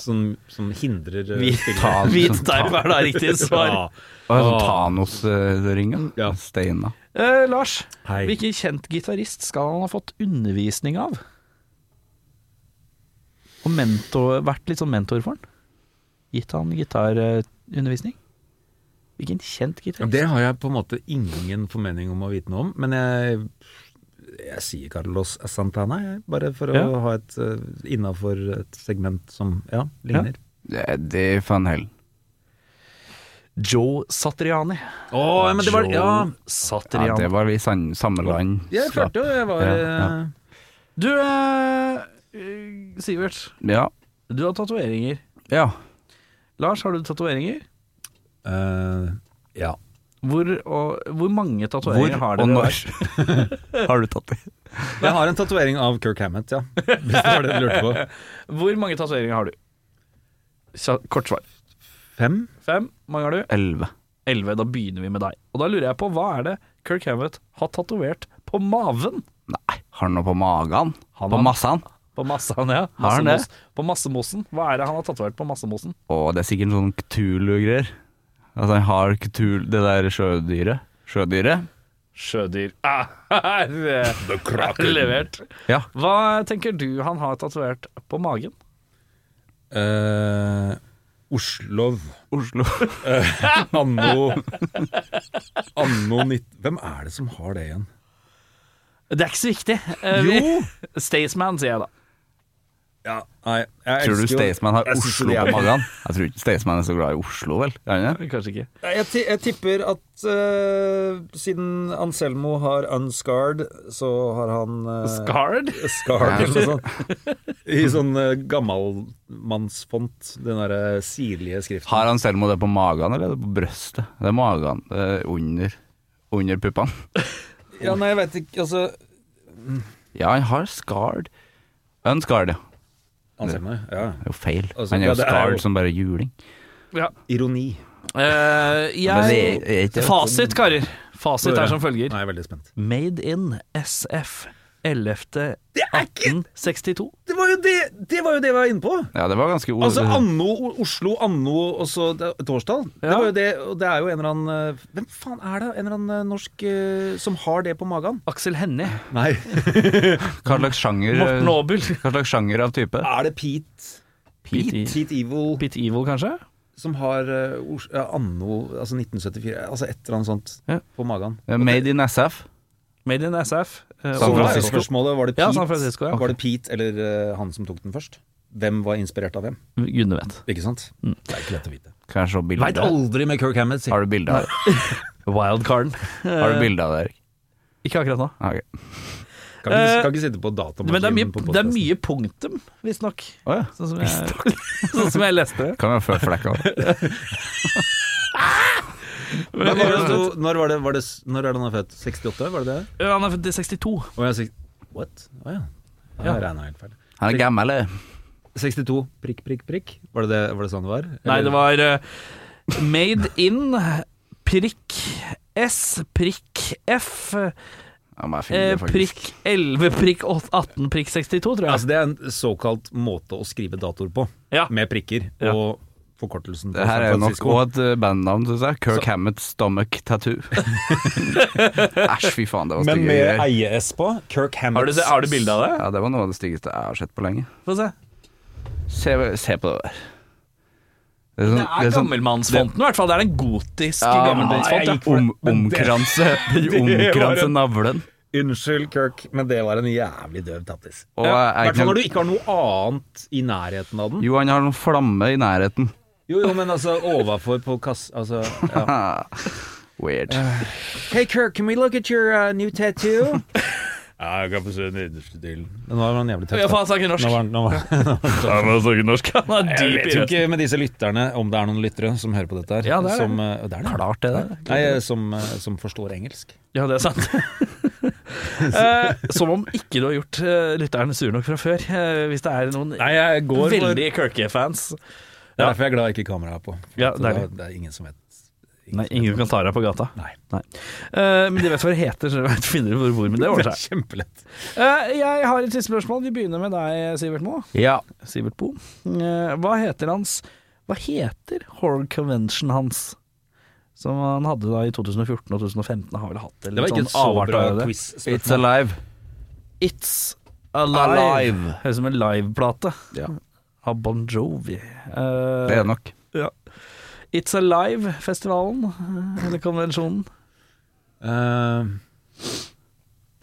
C: Som, som hindrer eh,
B: Hvit-
C: spilleren.
B: <laughs> Hvit teip er da riktig svar.
C: Ja.
D: Og sånn Thanos-ringa.
C: Ja.
D: Steina.
B: Eh, Lars,
C: Hei.
B: hvilken kjent gitarist skal han ha fått undervisning av? Og mentor, vært litt sånn mentor for han? Gitt han gitarundervisning? Hvilken kjent gitarist?
C: Det har jeg på en måte ingen formening om å vite noe om, men jeg Jeg sier Carlos Santana, jeg, bare for
B: Ja.
C: å ha et uh, innafor et segment som ja, ligner.
D: Det, det er fan hell.
B: Joe Satriani.
C: Å, ja, men det var Ja,
D: Ja,
B: Satriani.
D: det var vi san, samme land.
C: jeg klarte jo, jeg var
D: Ja,
C: eh,
D: ja.
B: Du, eh, Sivert.
D: Ja.
B: Du har tatoveringer.
D: ja.
B: Lars, har du tatoveringer?
C: eh, ja.
B: Hvor, og, hvor mange
D: Hvor
B: tatoveringer har
D: og
B: dere?
D: når <laughs> har du tatt det?
C: Jeg har en tatovering av Kirk Hammett, ja. Hvis det var det du lurte på.
B: Hvor mange tatoveringer har du? Kja- Kort svar.
C: Fem?
B: Fem. Mange har du?
D: Elleve.
B: Elleve. Da begynner vi med deg. Og da lurer jeg på, hva er det Kirk Hammett har tatovert på maven?
D: Nei, har han noe på magen?
B: Han
D: på
B: har-
D: massan?
B: På massaen, ja.
D: Har han det?
B: Massemos- På massemosen. Hva er det han har tatovert på massemosen?
D: Å, det er sikkert sånn Cthulhu-greier. Altså, han har Cthulhu, det der sjødyret. Sjødyret?
B: Sjødyr. <laughs> Ah, her er levert.
D: Ja.
B: Hva tenker du han har tatovert på magen?
C: Eh, Oslo
D: Oslo.
C: Anno Anno 19... Hvem er det som har det igjen?
B: Det er ikke så viktig. Eh, vi- Staysman, sier jeg da.
C: Ja, nei, jeg
D: Tror du
C: elsker jo-
D: Staysman har
C: Jeg synes
D: Oslo
C: det er-
D: på magen? Jeg tror ikke Staysman er så glad i Oslo, vel? Er han det?
B: Kanskje ikke.
C: Nei, Jeg, ti- jeg tipper at eh, siden Anselmo har Unscarred, så har han eh,
B: Scarred?
C: Scarred eller noe sånt. I sånn uh, gammalmannsfont. Den derre sirlige skriften.
D: Har han Selmo det på magen, eller er det på brøstet? Det er magen. Det er under, under puppene. <laughs>
C: Ja, nei, jeg veit ikke, altså
D: Ja, han har scarred. Unscarred, ja.
C: Anselmo, ja.
D: Det er jo feil.
C: Altså,
D: han er jo
C: ja, det er
D: scarred
C: jo-
D: som bare juling.
B: Ja.
C: Ironi.
B: Eh,
D: Men det
B: jeg
D: er ikke
B: Fasit, karer. Fasit er som følger.
C: Nå er jeg veldig spent.
B: Made in SF 11.
C: Det er ikke
B: 1862.
C: Det var jo det, det var jo det vi var inne på!
D: Ja, det var ganske
C: Altså
D: ordentlig.
C: anno O- Oslo, anno og så det- et årstall. Det,
B: Ja.
C: var jo det, og det er jo en eller annen eh, Hvem faen er det? En eller annen eh, norsk eh, som har det på magen?
B: Aksel Hennie.
C: Nei.
D: Hva slags sjanger
B: Morten Aabel.
D: Hva slags sjanger av type?
C: <laughs> Er det Pete?
B: Pete
C: Pete Evil
B: Pete Evil, kanskje?
C: som har eh, ors- ja, anno altså 1974 Altså et eller annet sånt
B: Ja.
C: på magen.
D: Eh, Made in SF.
B: Made in SF. eh,
C: Så
D: San
C: var
B: overalt.
C: det
D: Francisco.
C: spørsmålet var det Pete,
B: Ja, San Francisco, ja.
C: Var det Pete eller eh, han som tok den først? Hvem var inspirert av hvem?
B: Gudene vet.
C: Ikke sant? Det er ikke lett å vite.
D: Kan jeg se
C: Veit
D: bilde?
C: aldri med Kirk Hammett. sier
D: Har du bilde av det?
B: Wildcarden.
D: Har du bilde av det, Erik?
B: Ikke akkurat nå.
D: Ah, ok.
C: jeg. Kan ikke,
B: Eh,
C: kan ikke sitte på datamaskinen
B: Men det er
C: på
B: mye, det er
C: podcasten.
B: mye punktum, visstnok.
D: Å ja.
B: Sånn, som jeg- <laughs> sånn som jeg <laughs> leste det.
D: Kan jo føre flekka.
C: Men var det, sto- når, var det, var det, s- når er det han er født? 68, var det det?
B: Ja, Han er født i 62.
C: Og jeg sier, What? Å ja.
B: Ja.
C: Jeg regna helt feil.
D: Han er gammel, eh. eller?
C: 62 prikk, prikk, prikk. Var det, det, var det sånn det var?
B: Nei,
C: Eller-
B: det var eh, Made in prikk S prikk F
D: Ja, men jeg finner
B: eh,
D: det faktisk.
B: prikk 11 prikk 8, 18 prikk 62, tror jeg.
C: Altså, det er en såkalt måte å skrive datoer på,
B: Ja.
C: med prikker
B: Ja.
C: og forkortelsen. på
D: Det her
C: San
D: er jo nok
C: Francisco.
D: òg et eh, bandnavn, syns jeg. Kirk Hammett Stomach
C: <laughs>
D: Tattoo. Æsj, fy faen, det var
C: Men
D: stygge
C: med
D: greier.
C: eie-s på. Kirk Hammett.
B: Har du, se- har du bilde av det?
D: Ja, det var noe av det styggeste jeg har sett på lenge.
B: Få se.
D: Se, se på det der. Det er, sånn-
B: Det er gammelmannsfonten, i hvert fall. Det er den gotiske gammelmannsfont. Ja.
D: Om, omkranse <laughs>
B: <laughs>
D: omkranse navlen.
C: Unnskyld, Kirk, men det var en jævlig døv tattis.
D: Og
C: I
D: jeg-
C: hvert
D: jeg
C: fall
D: kan-
C: når du ikke har noe annet i nærheten av den.
D: Jo, han har noen flamme i nærheten.
C: Jo, jo, men altså overfor på kass... Altså, ja.
D: Ah, weird.
B: Eh,
C: Hey Kirk, can we look at your uh, new <laughs> tattoo? ja, jeg kan få se den innerste delen. Nå var han jævlig tøff.
B: Ja, faen, han snakker norsk.
C: Nå var han, nå var han.
B: norsk. Han er
C: Jeg
B: dyp
C: vet
B: i
C: jo
B: røsten.
C: ikke med disse lytterne om det er noen lyttere som hører på dette her.
B: Ja, det er det.
C: som, eh, det er det.
B: Klart det, det.
C: Nei, eh, som, eh, som forstår engelsk.
B: Ja, det er sant. <laughs> Eh, som om ikke du har gjort eh, lytteren sur nok fra før. eh, hvis det er noen
C: Nei, jeg går for
B: veldig Kirke-fans.
C: Det er derfor jeg er glad ikke kamera er på. For
B: Ja,
C: at
B: det er
C: da-
B: det.
C: det er ingen som vet.
B: Nei, ingen kan ta deg på gata.
C: Nei.
B: Eh, men de vet hva det heter, så de vet- finner du hvor hvor, <laughs> men det
C: Det
B: ordner
C: er
B: seg.
C: kjempelett.
B: Eh, jeg har et siste spørsmål. Vi begynner med deg, Sivert Moe.
D: Ja.
B: Sivert Bo. Eh, hva heter hans Hva heter Horror Convention hans? Som han hadde da i 2014 og 2015. Har vel hatt det sånn
C: Det var ikke et så bra quiz.
D: It's alive.
B: It's
D: Alive.
B: Høres ut som en liveplate
D: Ja.
B: av Bon Jovi. Eh,
D: Det er det nok.
B: ja. It's Alive-festivalen, eh, eller konvensjonen.
C: Eh,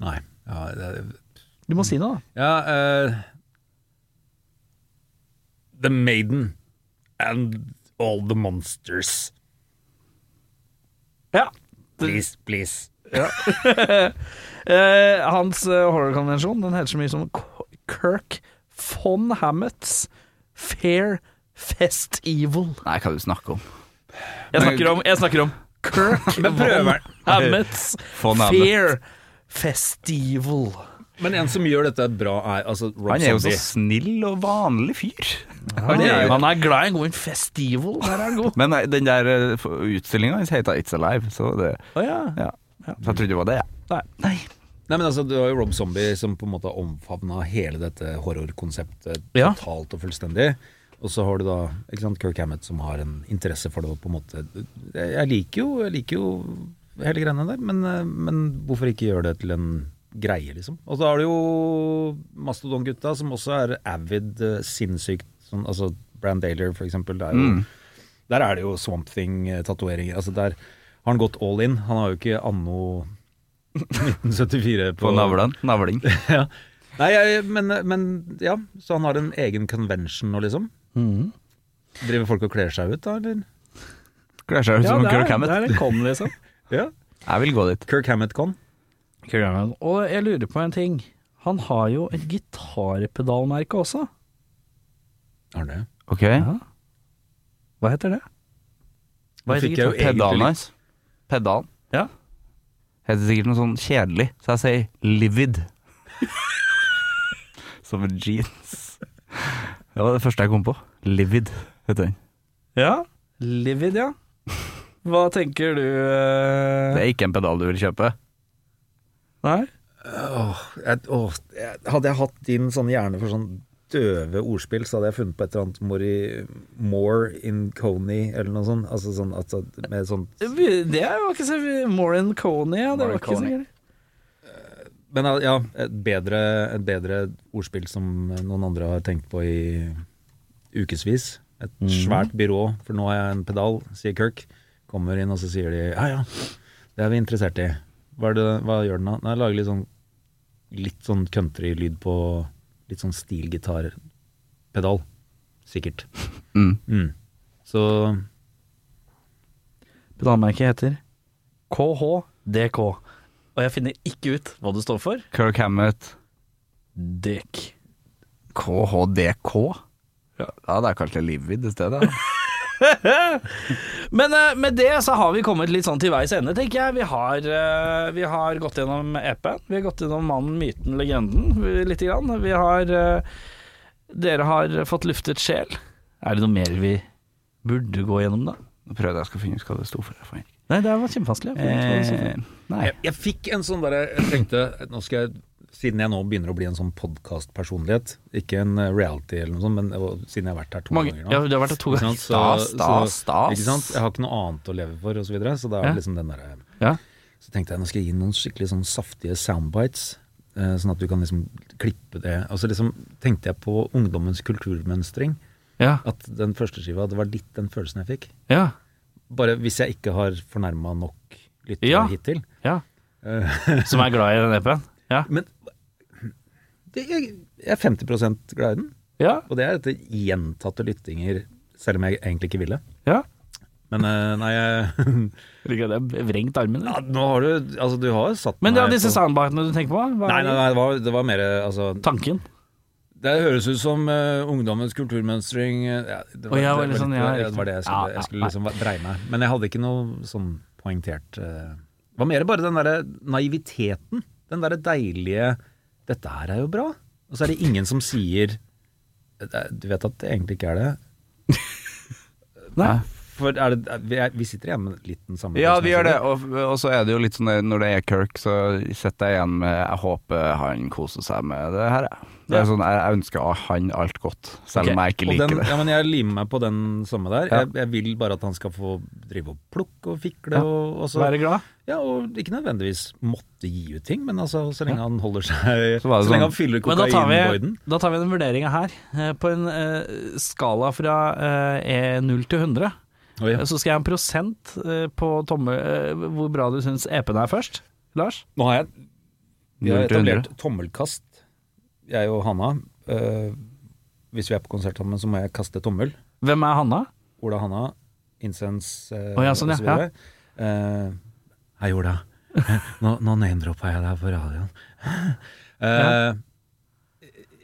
C: nei. Ja, det,
B: Du må si noe, da.
C: ja eh, The Maiden and all the monsters.
B: Ja.
C: Please, please.
B: Eh, hans eh, horrorkonvensjon den heter så mye som K- Kirk von Hammets Fair Fest Evil.
D: Nei, hva du snakker om?
B: Jeg snakker om, jeg snakker om <laughs> Kirk
C: Men prøver
B: von Hammets
D: Von Hammett.
B: Fair Festival.
C: Men en som gjør dette bra, er altså Rob
D: Han er jo så
C: Zombie.
D: snill og vanlig fyr.
B: Han
D: det er
B: er,
D: jo-
B: glad i en god festival. Der er han god.
D: Men nei, den der utstillinga hans heter It's Alive, så det
B: Å ja.
D: Ja. Så jeg trodde det var det, jeg.
B: Nei.
C: Nei, men altså, Det var jo Rob Zombie som på en måte omfavna hele dette horrorkonseptet
B: Ja.
C: totalt og fullstendig. Og så har du da ikke sant, Kirk Hammett som har en interesse for det og på en måte Jeg jeg liker jo, jeg liker jo hele greiene der, men, eh, men hvorfor ikke gjøre det til en greie, liksom? Og så har du jo Mastodon-gutta, som også er avid, eh, sinnssykt sånn, Altså Bran Daler, for eksempel. Det er jo der er det jo Swamp Thing-tatoveringer. Altså Der har han gått all in. Han har jo ikke anno 1974 på,
D: På navlen.
B: <laughs>
D: Navling.
C: <laughs> Ja. Nei, jeg, men, men ja. Så han har en egen convention nå, liksom? Driver folk og kler seg ut, da, eller?
D: Kler seg ut som
B: det
D: Kirk
B: er
D: Hammett.
B: en kom,
D: <laughs>
B: liksom.
C: Ja.
D: Jeg vil gå dit.
C: Kirk Hammett-con.
B: Og jeg lurer på en ting. Han har jo et gitarpedalmerke også.
C: Har han det?
D: Ok.
B: Hva heter det?
C: Nå fikk jeg jo
D: Pedalen
C: egentlig litt-
D: hans. Pedalen.
B: Ja.
D: Heter sikkert noe sånn kjedelig, så jeg sier
C: <laughs>
D: livid. som en jeans. Det var det første jeg kom på. Livid heter den.
B: Ja. Livid, ja. Hva tenker du
D: Det
B: eh,
D: er ikke en pedal du vil kjøpe.
B: Nei?
C: Åh, jeg, åh, jeg, hadde jeg hatt din sånn hjerne for sånn døve ordspill, så hadde jeg funnet på et eller annet Mori, More in Coney, eller noe sånt. Altså sånn at at- med sånn
B: Det var ikke så Moran Coney, ja. Det
D: Moran
B: var ikke så
D: Coney.
B: gøy.
C: Men eh, ja, et bedre, et bedre ordspill som noen andre har tenkt på i ukevis. Et svært byrå, for nå har jeg en pedal, sier Kirk. Kommer inn, og så sier de ja, ja, det er vi interessert i. Hva, er det, hva gjør den da? Nei, lager litt sånn, litt sånn countrylyd på litt sånn stilgitarpedal. Sikkert.
D: Mm.
C: Mm. Så
B: Pedalmerket heter KHDK. Og jeg finner ikke ut hva det står for.
D: Kirk Hammett.
B: Dick.
D: KHDK? Ja, da hadde jeg kalt det Livid i stedet.
B: Men eh, med det så har vi kommet litt sånn til veis ende, tenker jeg. Vi har, eh, vi har gått gjennom EP-en. Vi har gått gjennom mannen, myten, legenden vi- lite grann. Vi har eh, Dere har fått luftet sjel. Er det noe mer vi burde gå gjennom, da?
D: Nå prøvde jeg å finne ut hva det sto for. Jeg fant ikke.
B: Nei, det var kjempevanskelig.
D: Eh, nei.
C: jeg, jeg fikk en sånn derre Jeg tenkte nå skal jeg siden jeg nå begynner å bli en sånn podkast-personlighet, ikke en eh, reality eller noe sånt, men og siden jeg har vært her to
B: Mange,
C: ganger nå
B: ja, du har vært der to
C: Ikke
B: ganger.
C: sant? Så-
D: Stas, stas,
C: så-
D: stas.
C: Ikke sant? Jeg har ikke noe annet å leve for, og så videre. Så da er det liksom den derre
B: Ja.
C: Så tenkte jeg nå skal jeg gi noen skikkelig sånn saftige soundbites, eh, sånn at du kan liksom klippe det Og så liksom tenkte jeg på ungdommens kulturmønstring.
B: Ja,
C: At den første skiva, det var litt den følelsen jeg fikk.
B: ja,
C: Bare hvis jeg ikke har fornærma nok lyttere
B: Ja.
C: hittil. <laughs>
B: ja. Som er glad i den EP-en? Ja.
C: Men det, jeg, jeg er 50 glad i den,
B: ja,
C: og det er etter gjentatte lyttinger, selv om jeg egentlig ikke ville.
B: ja.
C: Men eh, nei, jeg <laughs>
B: Liker at jeg har vrengt armen.
C: Ja,
B: eller?
C: nå har du Altså, du har satt
B: Men det
C: meg
B: er disse
C: på-
B: soundbitene du tenker på? Hva
C: Nei,
B: er
C: nei, nei, det var, det var mer eh, altså,
B: tanken?
C: Det høres ut som eh, ungdommens kulturmønstring eh, ja, det,
B: Å, ja,
C: det
B: veldig sånn,
C: litt-
B: ja,
C: det,
B: riktig.
C: var det
B: Ja,
C: jeg skulle,
B: ja,
C: jeg skulle liksom dreie meg. Men jeg hadde ikke noe sånn poengtert eh, Det var mer bare den derre naiviteten. Den derre deilige 'Dette her er jo bra'. Og så er det ingen som sier eh, det er- Du vet at det egentlig ikke er det.
D: Nei.
C: For er det, er- vi, er, vi sitter igjen med litt den samme
D: Ja,
C: følelsen,
D: vi gjør
C: altså.
D: det. Og, og så er det jo litt sånn der, når det er Kirk, så sitter jeg igjen med Jeg håper han koser seg med det her, jeg. Det er sånn, jeg, jeg ønsker han alt godt, selv om jeg ikke
C: Og
D: liker
C: den,
D: det. <laughs>
C: ja, men jeg limer meg på den samme der.
D: Ja.
C: Jeg, jeg vil bare at han skal få drive og plukke og fikle. Og, og, så,
B: Være glad?
C: ja, og ikke nødvendigvis måtte gi ut ting, men altså, så lenge han holder seg Så,
D: Så var det sånn-
C: lenge han fyller
B: Men da tar vi,
C: kokainboyden.
B: da tar vi den vurderinga her. eh, På en eh, skala fra eh, E0 til 100,
C: Oi, ja.
B: så skal jeg ha en prosent eh, på tomme, eh, hvor bra du syns EP-en er først. Lars?
C: Nå har jeg Vi har
D: 0 til 100.
C: etablert tommelkast, jeg og Hanna. Eh, hvis vi er på konsert sammen, så må jeg kaste tommel.
B: Hvem er Hanna?
C: Ola Hanna, Incense eh,
B: Å, ja, sånn, ja.
C: og så videre. Eh, hei, <laughs> Ola. Nå, nå name-droppa jeg deg på radioen. Eh,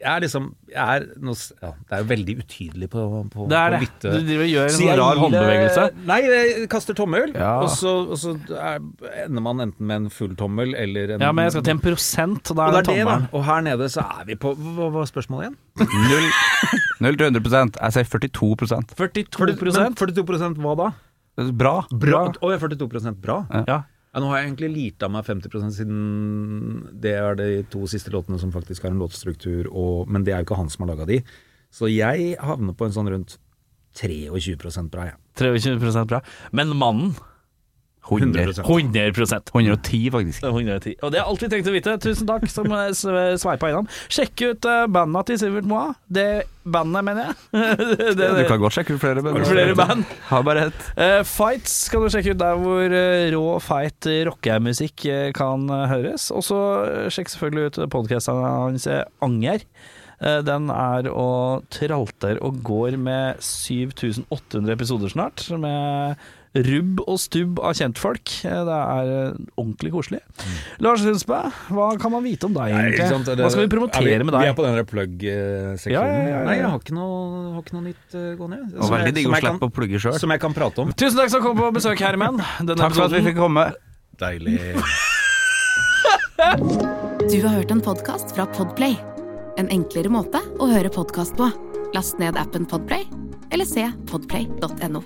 C: jeg er liksom jeg er, nå, s- ja, Det er jo veldig utydelig på, på,
B: Det er
C: på
B: det. Du
C: lytte-
B: driver og gjør en
C: Så
B: sånn
C: jeg
B: rar
C: gir eh, det-
B: håndbevegelse.
C: Nei, jeg kaster tommel,
D: Ja.
C: og så, og så er, ender man enten med en full tommel eller en
B: Ja, men jeg skal til en prosent, og da er
C: Og
B: det
C: det er det,
B: tommelen.
C: da. Og her nede så er vi på Hva var spørsmålet igjen?
D: 0, 0 til 100 Jeg sier 42
B: 42
C: Men 42 hva da?
D: Det er Bra.
C: Bra. Å, jeg er 42 bra.
B: Ja.
C: Ja, nå har jeg egentlig lirt av meg 50 siden det er de to siste låtene som faktisk har en låtstruktur, og, men det er jo ikke han som har laga de. Så jeg havner på en sånn rundt 23 bra, jeg.
B: 23 bra. Men mannen
D: 100
C: 100%.
B: 100
D: 110, faktisk.
B: 110. Og det er alt vi trengte å vite. Tusen takk som eh, sve- sveipa innom. Sjekk ut eh, banda til Sivert Moa. Det bandet, mener jeg. <laughs> det, det,
D: Du kan godt sjekke ut flere band.
B: Flere band.
D: Har bare ett.
B: Eh, fights kan du sjekke ut der hvor eh, rå, feit eh, rockemusikk eh, kan eh, høres. Og så eh, sjekk selvfølgelig ut podkasten hans eh, Anger. Eh, den er og tralter og går med 7800 episoder snart. Med rubb og stubb av kjentfolk. Eh, det er eh, ordentlig koselig. Lars Lundsbø, hva kan man vite om deg
C: Mm. Nei,
B: egentlig?
C: ikke sant? Er det-
B: hva skal vi promotere
C: er vi,
B: med deg?
C: Vi er på den der plug-seksjonen.
B: Ja, ja, ja, ja.
C: Nei, jeg har ikke noe, har ikke noe nytt eh, gående.
D: Og
C: Som jeg-
D: veldig digg
C: som
D: å
C: jeg
D: slippe
C: kan-
D: å plugge sjøl.
C: Som jeg kan prate om.
B: Tusen takk som kom på besøk, herremenn. Denne
D: Takk for at vi
B: episoden-
D: fikk komme.
C: Deilig.
A: Du har hørt en podkast fra Podplay. En enklere måte å høre podkast på. Last ned appen Podplay, eller se podplay.no.